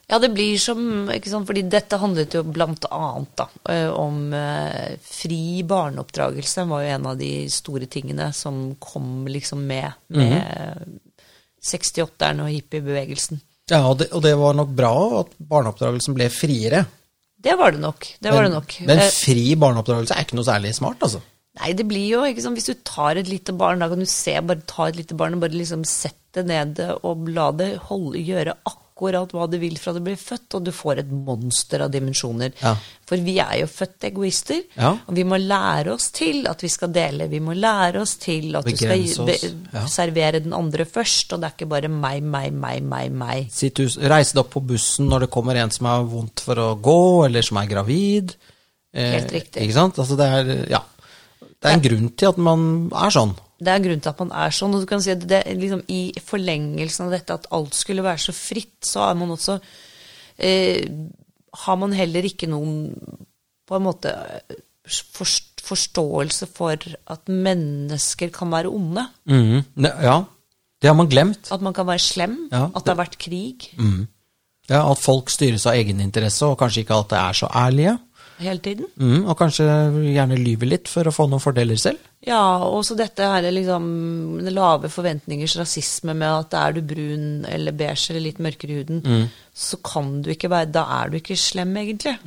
Speaker 2: Ja, det blir som ikke sant, Fordi dette handlet jo blant annet da, eh, om eh, fri barneoppdragelse. var jo en av de store tingene som kom liksom med med
Speaker 1: Mhm.
Speaker 2: 68-eren og hippiebevegelsen.
Speaker 1: Ja, og det, og det var nok bra at barneoppdragelsen ble friere.
Speaker 2: Det var det nok. Det var det nok.
Speaker 1: Men
Speaker 2: Eh,
Speaker 1: fri barneoppdragelse er ikke noe særlig smart, altså.
Speaker 2: Nei, det blir jo ikke sånn, Hvis du tar et lite barn, da kan du se, bare ta et lite barn og bare liksom sette det ned og la det holde, gjøre akkurat hva du vil fra det blir født, og du får et monster av dimensjoner.
Speaker 1: Ja.
Speaker 2: For vi er jo født egoister,
Speaker 1: Ja.
Speaker 2: og vi må lære oss til at vi skal dele. Vi må lære oss til at
Speaker 1: Begrense
Speaker 2: du
Speaker 1: oss,
Speaker 2: skal be-
Speaker 1: ja.
Speaker 2: servere den andre først, og det er ikke bare meg, meg, meg, meg, meg.
Speaker 1: Si tusen, reis deg opp på bussen når det kommer en som har vondt for å gå, eller som er gravid. Eh,
Speaker 2: Helt riktig.
Speaker 1: Ikke sant? Altså det er, ja. det er en grunn til at man er sånn.
Speaker 2: det er en grunn til at man er sånn. og du kan si at det, er liksom, I forlengelsen av dette at alt skulle være så fritt, så er man også eh, Har man heller ikke noen på en måte forst- forståelse for at mennesker kan være onde.
Speaker 1: Mhm. Ne- Ja. Det har man glemt.
Speaker 2: At man kan være slem.
Speaker 1: Ja,
Speaker 2: at det har vært krig
Speaker 1: Ja, At folk styres av egeninteresse, og kanskje ikke alltid er så ærlige.
Speaker 2: hele tiden.
Speaker 1: Mhm, og kanskje gjerne lyver litt for å få noen fordeler selv.
Speaker 2: Ja, og så dette her er liksom lave forventningers rasisme med at er du brun eller beige eller litt mørkere i huden, så kan du ikke være Da er du ikke slem, egentlig.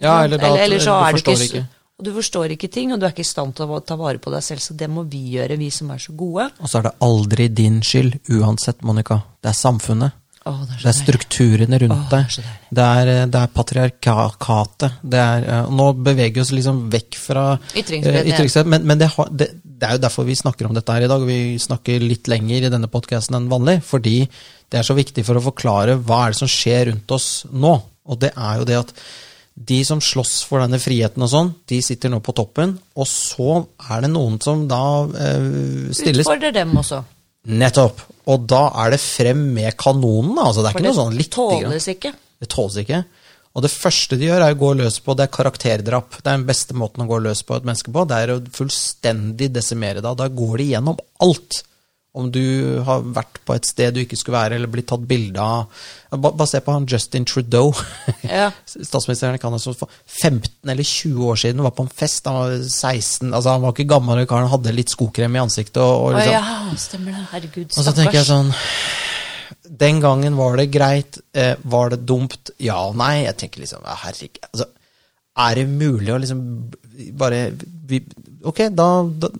Speaker 1: Ja, eller, da, at
Speaker 2: eller så
Speaker 1: du
Speaker 2: er du
Speaker 1: forstår
Speaker 2: ikke, Og du forstår ikke ting, og du er ikke i stand til å ta vare på deg selv, så det må vi gjøre, vi som er så gode.
Speaker 1: Og så er det aldri din skyld, uansett, Monica. Det er samfunnet.
Speaker 2: Åh, det er
Speaker 1: Det
Speaker 2: så
Speaker 1: er strukturene rundt
Speaker 2: Åh, det er
Speaker 1: deg.
Speaker 2: så deilig.
Speaker 1: Det er, eh, det er patriarkatet. Det er, eh, nå beveger vi oss liksom vekk fra eh,
Speaker 2: Ytringsfriheten, ja.
Speaker 1: ytringsfrihet, men, men det, har, det, det er jo derfor vi snakker om dette her i dag. og Vi snakker litt lenger i denne podkasten enn vanlig, fordi det er så viktig for å forklare hva er det som skjer rundt oss nå. Og det er jo det at de som slåss for denne friheten og sånn, de sitter nå på toppen, og så er det noen som da eh, stilles
Speaker 2: Utfordrer dem også.
Speaker 1: Nettopp. Og da er det frem med kanonen. altså Det er
Speaker 2: For
Speaker 1: ikke
Speaker 2: det
Speaker 1: noe sånn litt
Speaker 2: tåles ikke.
Speaker 1: Det tåles ikke. Og det første de gjør, er å gå løs på det er karakterdrap. Det er den beste måten å gå løs på et menneske på. Det er å fullstendig desimere deg. Da går de gjennom alt. Om du har vært på et sted du ikke skulle være, eller blitt tatt bilde av. Ba- Bare se på han Justin Trudeau.
Speaker 2: Ja.
Speaker 1: Statsministeren i Canada som for 15 eller 20 år siden var på en fest. Han var 16, altså han var ikke gammel, den karen hadde litt skokrem i ansiktet. Og, og
Speaker 2: Å
Speaker 1: liksom,
Speaker 2: ja, stemmer det. Herregud,
Speaker 1: og så tenker jeg
Speaker 2: stakkars.
Speaker 1: sånn Den gangen var det greit. Eh, var det dumt? Ja og nei. Jeg tenker liksom ja, Herregud. Altså, er det mulig å liksom b- bare vi, Ok, da, da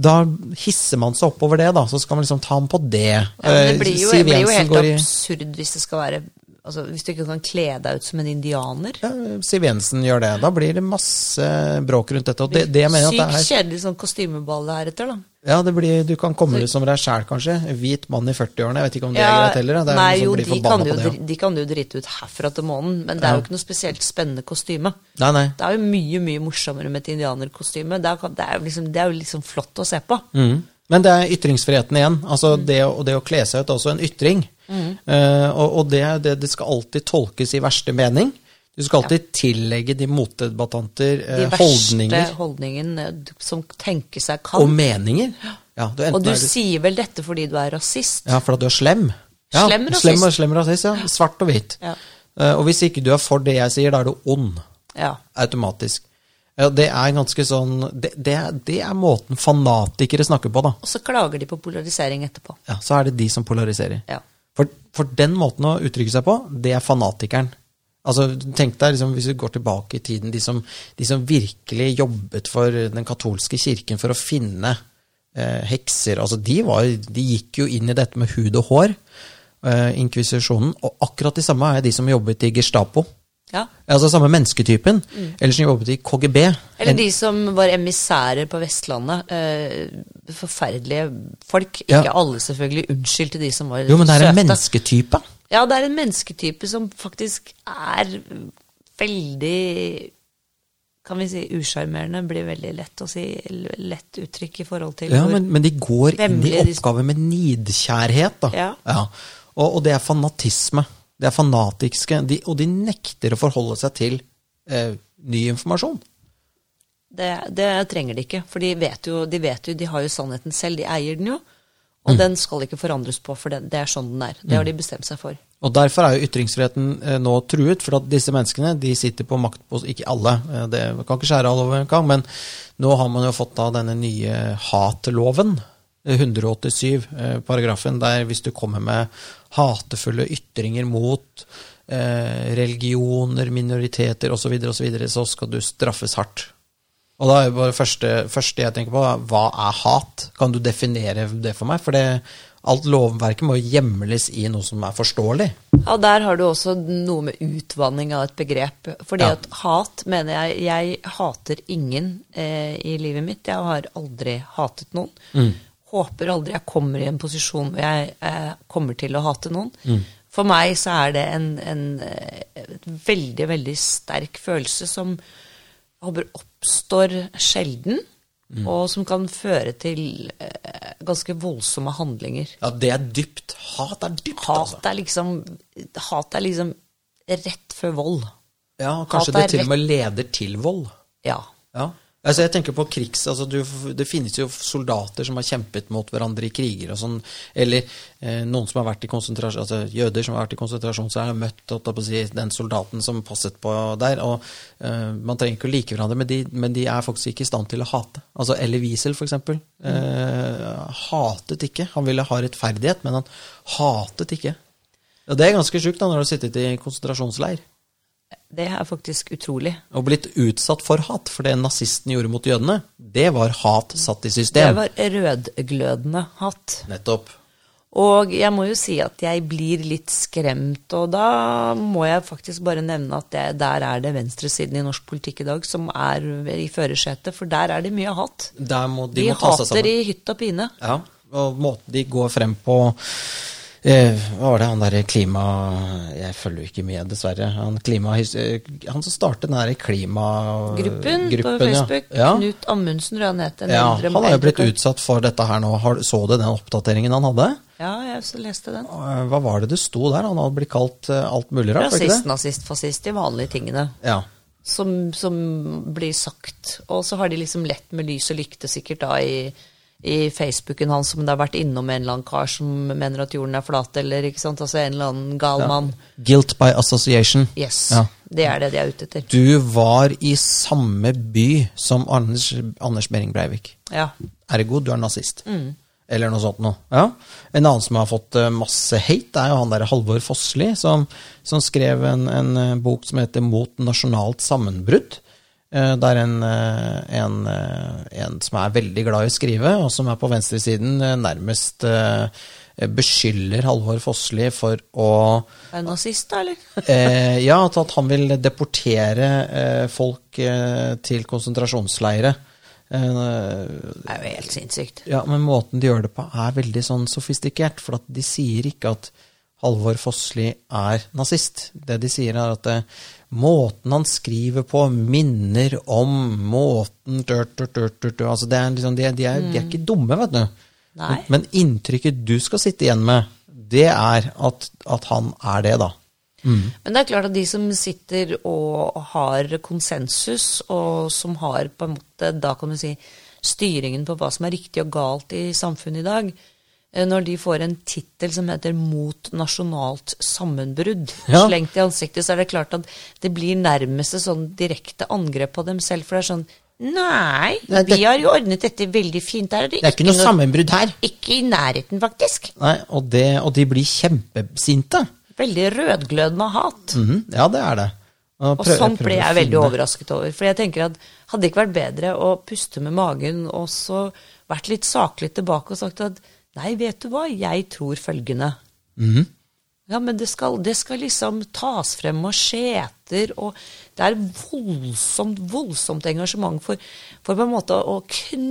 Speaker 1: da hisser man seg oppover det, da. Så skal man liksom ta ham på det. Eh,
Speaker 2: Ja, men det blir jo, det blir jo helt
Speaker 1: går i-
Speaker 2: absurd hvis det skal være altså, Hvis du ikke kan kle deg ut som en indianer.
Speaker 1: ja, Siv Jensen gjør det. Da blir det masse bråk rundt dette. Og det, det jeg mener at det er
Speaker 2: Sykt kjedelig sånn kostymeball det her etter, da.
Speaker 1: Ja, det blir, du kan komme ut som deg sjæl, kanskje. En Hvit mann i 40-årene. Jeg vet ikke om det er
Speaker 2: Ja,
Speaker 1: greit heller. da. Det er liksom
Speaker 2: nei,
Speaker 1: noen som
Speaker 2: jo,
Speaker 1: blir
Speaker 2: de
Speaker 1: forbanna
Speaker 2: kan
Speaker 1: på
Speaker 2: jo,
Speaker 1: det, ja.
Speaker 2: dri- de kan jo drite ut herfra til månen, men det er jo ikke noe spesielt spennende kostyme.
Speaker 1: Nei, nei.
Speaker 2: Det er jo mye mye morsommere med et indianerkostyme. Det er, det er, jo, liksom, det er jo liksom flott å se på.
Speaker 1: Mm. Men det er ytringsfriheten igjen. Altså det, å- og det å kle seg ut er også en ytring. Eh, og og det, det, det skal alltid tolkes i verste mening. Du skal alltid tillegge de motdebattanter
Speaker 2: De
Speaker 1: eh,
Speaker 2: verste
Speaker 1: holdninger
Speaker 2: holdningene du- som tenke seg
Speaker 1: og
Speaker 2: kan.
Speaker 1: meninger. Ja, du, enten
Speaker 2: Og du
Speaker 1: er du,
Speaker 2: sier vel dette fordi du er rasist?
Speaker 1: ja, for at du er slem. Ja,
Speaker 2: Slem rasist.
Speaker 1: Slem, og- slem rasist, ja. Svart og hvit.
Speaker 2: Ja.
Speaker 1: Eh, og hvis ikke du er for det jeg sier, da er du ond.
Speaker 2: Ja.
Speaker 1: Automatisk. Ja, det er ganske sånn det, det, det er måten fanatikere snakker på, da.
Speaker 2: Og så klager de på polarisering etterpå.
Speaker 1: Ja, så er det de som polariserer.
Speaker 2: Ja.
Speaker 1: For, for den måten å uttrykke seg på, det er fanatikeren. Altså, tenk deg, liksom, Hvis du går tilbake i tiden, de som, de som virkelig jobbet for den katolske kirken for å finne eh, hekser altså de, var, de gikk jo inn i dette med hud og hår, eh, inkvisisjonen. Og akkurat de samme er de som jobbet i Gestapo.
Speaker 2: ja.
Speaker 1: Altså samme mennesketypen. Eller som jobbet i KGB.
Speaker 2: Mm. Eller de som var emissærer på Vestlandet. Eh, forferdelige folk. Ikke
Speaker 1: Ja.
Speaker 2: alle, selvfølgelig. Unnskyld til de som var
Speaker 1: jo, men det er en
Speaker 2: søte.
Speaker 1: mennesketype.
Speaker 2: Ja, det er en mennesketype som faktisk er veldig Kan vi si usjarmerende? Blir veldig lett å si. l- Lett uttrykk i forhold til
Speaker 1: Ja,
Speaker 2: hvor-
Speaker 1: men, men de går inn i
Speaker 2: Vemmelige, de-
Speaker 1: oppgaven med nidkjærhet. Da.
Speaker 2: Ja.
Speaker 1: Og, og det er fanatisme. Det er fanatiske. De, og de nekter å forholde seg til eh, ny informasjon.
Speaker 2: det, det trenger de ikke. For de vet, jo, de vet jo De har jo sannheten selv. De eier den jo.
Speaker 1: Mm.
Speaker 2: Og den skal ikke forandres på, for den, det er sånn den er. Det har de bestemt seg for.
Speaker 1: Og Derfor er jo ytringsfriheten eh, nå truet, for at disse menneskene de sitter på makt på, Ikke alle, eh, det man kan ikke skjære alle over en gang, men nå har man jo fått da denne nye hatloven, eh, 187 eh, paragrafen, der hvis du kommer med hatefulle ytringer mot eh, religioner, minoriteter osv., så, videre, så skal du straffes hardt. Og da er jo bare første, første jeg tenker på, er, hva er hat? Kan du definere det for meg? For det, alt lovverket må jo hjemles i noe som er forståelig.
Speaker 2: Ja, der har du også noe med utvanning av et begrep. Fordi
Speaker 1: Ja.
Speaker 2: at hat, mener jeg Jeg hater ingen eh, i livet mitt. Jeg har aldri hatet noen. Håper aldri jeg kommer i en posisjon hvor jeg eh, kommer til å hate noen. For meg så er det en, en eh, et veldig, veldig sterk følelse som håper oppstår sjelden. og som kan føre til eh, ganske voldsomme handlinger.
Speaker 1: Ja, det er dypt. Hat er dypt, altså.
Speaker 2: Hat er liksom, hat er liksom rett før vold.
Speaker 1: Ja, kanskje
Speaker 2: Hat er
Speaker 1: det til og med leder til vold.
Speaker 2: Ja.
Speaker 1: Ja. Altså, jeg tenker på krigs... Altså, du, det finnes jo soldater som har kjempet mot hverandre i kriger og sånn, eller eh, noen som har vært i konsentrasjon... Altså, jøder som har vært i konsentrasjonsleir og møtt holdt jeg på å si, den soldaten som passet på der, og eh, man trenger ikke å like hverandre, men de, men de er faktisk ikke i stand til å hate. Altså, Elie Wiesel, for eksempel, eh, hatet ikke. Han ville ha rettferdighet, men han hatet ikke. Og det er ganske sjukt da, når du har sittet i konsentrasjonsleir
Speaker 2: Det er faktisk utrolig.
Speaker 1: og blitt utsatt for hat. For det nazisten gjorde mot jødene, det var hat satt i
Speaker 2: Det
Speaker 1: system.
Speaker 2: var rødglødende hatt.
Speaker 1: Nettopp.
Speaker 2: Og jeg må jo si at jeg blir litt skremt, og da må jeg faktisk bare nevne at det, der er det venstresiden i norsk politikk i dag som er i førersetet, for der er det mye hat.
Speaker 1: Der må, de,
Speaker 2: De,
Speaker 1: må ta seg
Speaker 2: hater
Speaker 1: sammen.
Speaker 2: i hytt og pine.
Speaker 1: Ja, og måten de går frem på eh, Hva var det han derre klima... Jeg følger jo ikke med, dessverre. Han, klima, eh, han som startet den derre
Speaker 2: Gruppen,
Speaker 1: klimagruppen
Speaker 2: på Facebook,
Speaker 1: Ja. Ja.
Speaker 2: Knut Amundsen, tror jeg han het. en
Speaker 1: Ja,
Speaker 2: eldre-
Speaker 1: han er jo blitt
Speaker 2: eldre-
Speaker 1: utsatt for dette her nå. Har- Så du den oppdateringen han hadde?
Speaker 2: Ja, jeg også leste den.
Speaker 1: Eh, Hva var det det sto der? Han hadde blitt kalt eh, alt mulig rart? var ikke
Speaker 2: Rasist,
Speaker 1: det?
Speaker 2: nazist, fascist, de vanlige tingene
Speaker 1: Ja.
Speaker 2: som, som blir sagt. Og så har de liksom lett med lys og lykte sikkert da i, i Facebooken hans, som det har vært innom en eller annen kar som mener at jorden er flat, eller ikke sant, altså en eller annen gal mann.
Speaker 1: Guilt by association.
Speaker 2: Yes.
Speaker 1: Ja.
Speaker 2: Det er det de er ute etter.
Speaker 1: Du var i samme by som Anders, Anders Behring Breivik.
Speaker 2: Ja.
Speaker 1: Ergo, du er nazist. Eller noe sånt noe. Ja. En annen som har fått eh, masse hate, er jo han der Halvor Fossli, som, som skrev en, en eh, bok som heter Mot nasjonalt sammenbrudd. Eh, Der en, eh, en, eh, en som er veldig glad i å skrive, og som er på venstresiden, eh, nærmest eh, beskylder Halvor Fossli for å
Speaker 2: Er du nazist, da, eller?
Speaker 1: eh, ja, at, at han vil deportere eh, folk eh, til konsentrasjonsleire. Eh,
Speaker 2: Det er jo helt sinnssykt.
Speaker 1: ja, men måten de gjør det på er veldig sånn sofistikert, for at de sier ikke at Halvor Fossli er nazist. Det de sier er at eh, måten han skriver på minner om måten tør, tør, tør, tør, tør. Altså det er liksom, de, er- de, er, de er ikke dumme, vet du.
Speaker 2: Nei.
Speaker 1: Men, men inntrykket du skal sitte igjen med, det er at, at han er det, da.
Speaker 2: Men det er klart at de som sitter og har konsensus, og som har på en måte, da kan du si, styringen på hva som er riktig og galt i samfunnet i dag, eh, når de får en tittel som heter 'Mot nasjonalt sammenbrudd'
Speaker 1: Ja.
Speaker 2: slengt i ansiktet, så er det klart at det blir nærmest et sånn direkte angrep på dem selv, for det er sånn Nei,
Speaker 1: Nei, det-
Speaker 2: vi har jo ordnet dette veldig fint. Der er det,
Speaker 1: Det er ikke noe sammenbrudd her.
Speaker 2: Ikke i nærheten, faktisk.
Speaker 1: Nei, og, det, og de blir kjempesinte.
Speaker 2: Veldig rødglødende hat.
Speaker 1: Mhm, Ja, det er det.
Speaker 2: Og sånt ble jeg veldig overrasket over. For jeg tenker at hadde det ikke vært bedre å puste med magen og så vært litt saklig tilbake og sagt at nei, vet du hva, jeg tror følgende.
Speaker 1: Mhm.
Speaker 2: Ja, men det skal, det skal liksom tas frem macheter, og det er voldsomt, voldsomt engasjement for, for på en måte å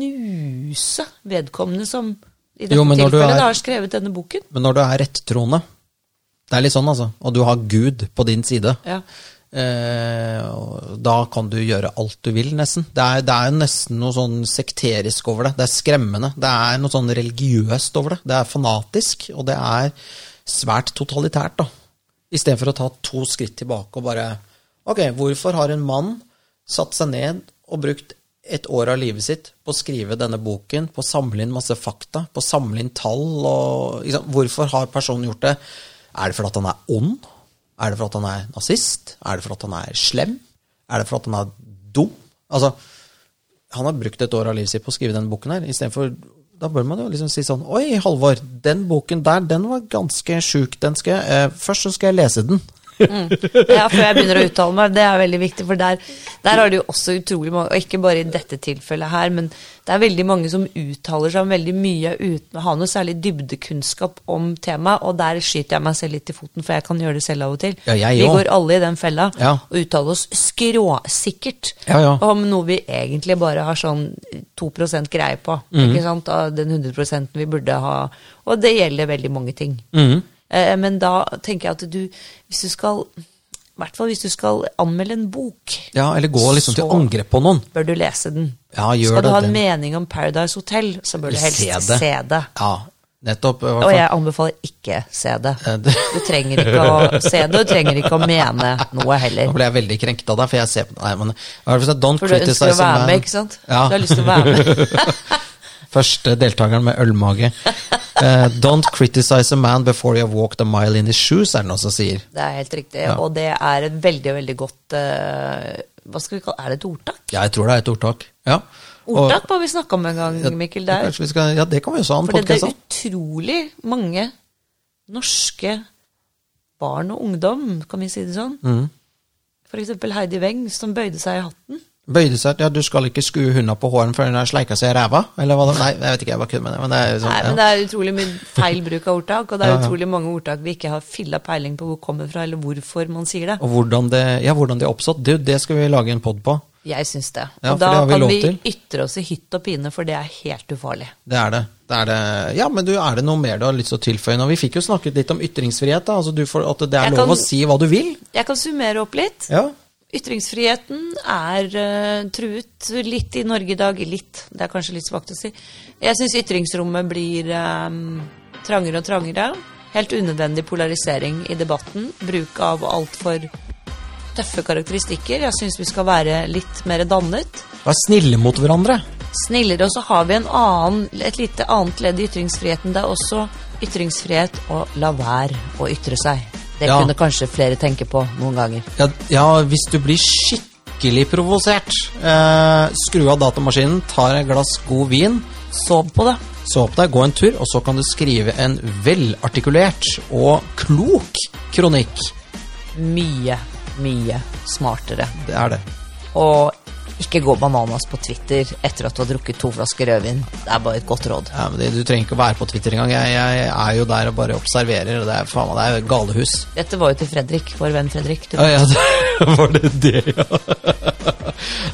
Speaker 2: knuse vedkommende som i dette
Speaker 1: Jo, men når du
Speaker 2: tilfellet
Speaker 1: er-
Speaker 2: da har skrevet denne boken.
Speaker 1: Men når du er rettroende Det er litt sånn, altså. Og du har Gud på din side.
Speaker 2: Ja.
Speaker 1: Eh, og da kan du gjøre alt du vil, nesten. Det er, det er nesten noe sånn sekterisk over det. Det er skremmende. Det er noe sånn religiøst over det. Det er fanatisk, og det er svært totalitært, da. Istedenfor å ta to skritt tilbake og bare Ok, hvorfor har en mann satt seg ned og brukt et år av livet sitt på å skrive denne boken, på å samle inn masse fakta, på å samle inn tall og ikke sant? Hvorfor har personen gjort det? Er det fordi at han er ond? Er det for at han er nazist? Er det for at han er slem? Er det for at han er dum? Altså, han har brukt et år av livet sitt på å skrive denne boken her. Istedenfor Da bør man jo liksom si sånn Oi, Halvor, den boken der, den var ganske sjuk. Den skal jeg, eh, først så skal jeg lese den.
Speaker 2: Ja, før jeg begynner å uttale meg. Det er veldig viktig, for der, der har det jo også utrolig mange, og ikke bare i dette tilfellet her, men det er veldig mange som uttaler seg om veldig mye uten å ha noe særlig dybdekunnskap om temaet, og der skyter jeg meg selv litt i foten, for jeg kan gjøre det selv av og til.
Speaker 1: Ja, jeg
Speaker 2: vi
Speaker 1: også.
Speaker 2: går alle i den fella
Speaker 1: Ja.
Speaker 2: og uttaler oss skråsikkert
Speaker 1: Ja, ja.
Speaker 2: om noe vi egentlig bare har sånn 2 greie på,
Speaker 1: Mhm.
Speaker 2: ikke sant, av den 100 vi burde ha, og
Speaker 1: Mhm.
Speaker 2: det gjelder veldig mange ting. Eh, Men da tenker jeg at du, hvis du skal I hvert fall hvis du skal anmelde en bok,
Speaker 1: Ja, eller gå liksom til
Speaker 2: Så-
Speaker 1: angrep på noen.
Speaker 2: bør du lese den.
Speaker 1: Ja, gjør
Speaker 2: skal du
Speaker 1: det,
Speaker 2: ha
Speaker 1: den-
Speaker 2: en mening om Paradise Hotel, så bør du helst
Speaker 1: Se
Speaker 2: se
Speaker 1: det.
Speaker 2: det.
Speaker 1: Ja, nettopp. i hvert
Speaker 2: Og
Speaker 1: fall.
Speaker 2: jeg anbefaler ikke se det.
Speaker 1: Eh, det-
Speaker 2: Du trenger ikke å se det, og du trenger ikke å mene noe
Speaker 1: Nå
Speaker 2: heller.
Speaker 1: ble jeg veldig krenkt av deg, for jeg ser på Nei, men hva er det for seg? Don't
Speaker 2: For du ønsker
Speaker 1: criticize a
Speaker 2: å være
Speaker 1: man.
Speaker 2: med, ikke sant?
Speaker 1: Ja.
Speaker 2: Du har lyst til å være med.
Speaker 1: Første deltakeren med ølmage. Eh, don't criticize a man before you have walked a mile in his shoes, er det noen som sier.
Speaker 2: Det er helt riktig, og det er et veldig, veldig godt eh, Hva skal vi kalle Er det et ordtak?
Speaker 1: Ja, jeg tror det er et ordtak. Ja. Og-
Speaker 2: Ordtak må vi snakke om en gang, Mikkel. Det er
Speaker 1: Kanskje vi skal, ja, det kan vi jo ha en
Speaker 2: Fordi det
Speaker 1: podkast
Speaker 2: er
Speaker 1: om.
Speaker 2: utrolig mange norske barn og ungdom, kan vi si det sånn.
Speaker 1: Mm.
Speaker 2: For eksempel Heidi Weng, som bøyde seg i hatten.
Speaker 1: Bøyde seg ja, du skal ikke skue hunda på håren før hun har sleika seg i ræva? Eller hva da? Nei, jeg vet ikke, jeg bare kødder med det. Men det er jo sånn,
Speaker 2: Nei,
Speaker 1: ja.
Speaker 2: men Det er utrolig mye feil bruk av ordtak, og det er utrolig mange ordtak vi ikke har filla peiling på hvor kommer fra, eller hvorfor man sier det.
Speaker 1: Og hvordan det, ja, hvordan de er oppstått, det, det skal vi lage en pod på.
Speaker 2: Jeg syns det.
Speaker 1: Ja, for
Speaker 2: og da
Speaker 1: det har vi
Speaker 2: kan
Speaker 1: lov
Speaker 2: vi
Speaker 1: til.
Speaker 2: ytre oss i hytt og pine, for det er helt ufarlig.
Speaker 1: Det er det. det, er det. Ja, men du, er det noe mer du har lyst til å tilføye nå? Vi fikk jo snakket litt om ytringsfrihet, da. Altså, du får, at det er
Speaker 2: Jeg
Speaker 1: lov
Speaker 2: kan-
Speaker 1: å si hva du vil.
Speaker 2: Jeg kan summere opp litt.
Speaker 1: Ja.
Speaker 2: Ytringsfriheten er eh, truet litt i Norge i dag. Litt, det er kanskje litt svakt å si. Jeg syns ytringsrommet blir eh, trangere og trangere. Helt unødvendig polarisering i debatten. Bruk av altfor tøffe karakteristikker. Jeg syns vi skal være litt mer dannet.
Speaker 1: Vær snille mot hverandre.
Speaker 2: Snillere. Og så har vi en annen, et lite annet ledd i ytringsfriheten. Det er også ytringsfrihet å la være å ytre seg. Det
Speaker 1: Ja.
Speaker 2: kunne kanskje flere tenke på noen ganger.
Speaker 1: Ja, ja hvis du blir skikkelig provosert, eh, skru av datamaskinen, tar et glass god vin,
Speaker 2: Sov på det.
Speaker 1: så opp deg, gå en tur, og så kan du skrive en velartikulert og klok kronikk.
Speaker 2: mye, mye smartere.
Speaker 1: Det er det.
Speaker 2: Og ikke gå bananas på Twitter etter at du har drukket to flasker rødvin. Det er bare et godt råd.
Speaker 1: Ja, men det, du trenger ikke å være på Twitter engang. Jeg, jeg er jo der og bare observerer. og Det er faen meg det er jo galehus.
Speaker 2: Dette var jo til Fredrik, vår venn Fredrik. Du,
Speaker 1: Ja, ja, det- var det det, ja?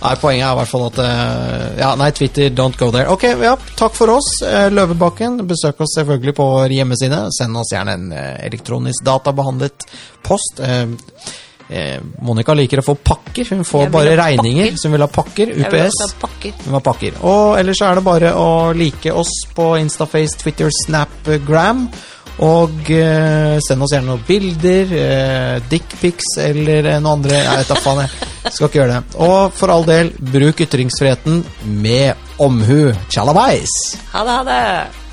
Speaker 1: Nei, poenget er i hvert fall at eh, Ja, nei, Twitter, don't go there. Ok, ja, takk for oss, eh, Løvebakken. Besøk oss selvfølgelig på vår hjemmeside. Send oss gjerne en eh, elektronisk databehandlet post. Eh, eh, Monica liker å få pakker. Hun får
Speaker 2: Jeg vil
Speaker 1: bare
Speaker 2: ha
Speaker 1: regninger,
Speaker 2: pakker.
Speaker 1: så hun vil ha pakker.
Speaker 2: Jeg vil
Speaker 1: UPS.
Speaker 2: også ha pakker.
Speaker 1: Hun har pakker. Og ellers så er det bare å like oss på Instaface, Twitter, Snapgram. Og eh, send oss gjerne noen bilder, eh, dickpics eller eh, noe andre. Jeg vet da faen, jeg skal ikke gjøre det. Og for all del, bruk ytringsfriheten med omhu. Tjalabais!
Speaker 2: Ha det, ha det!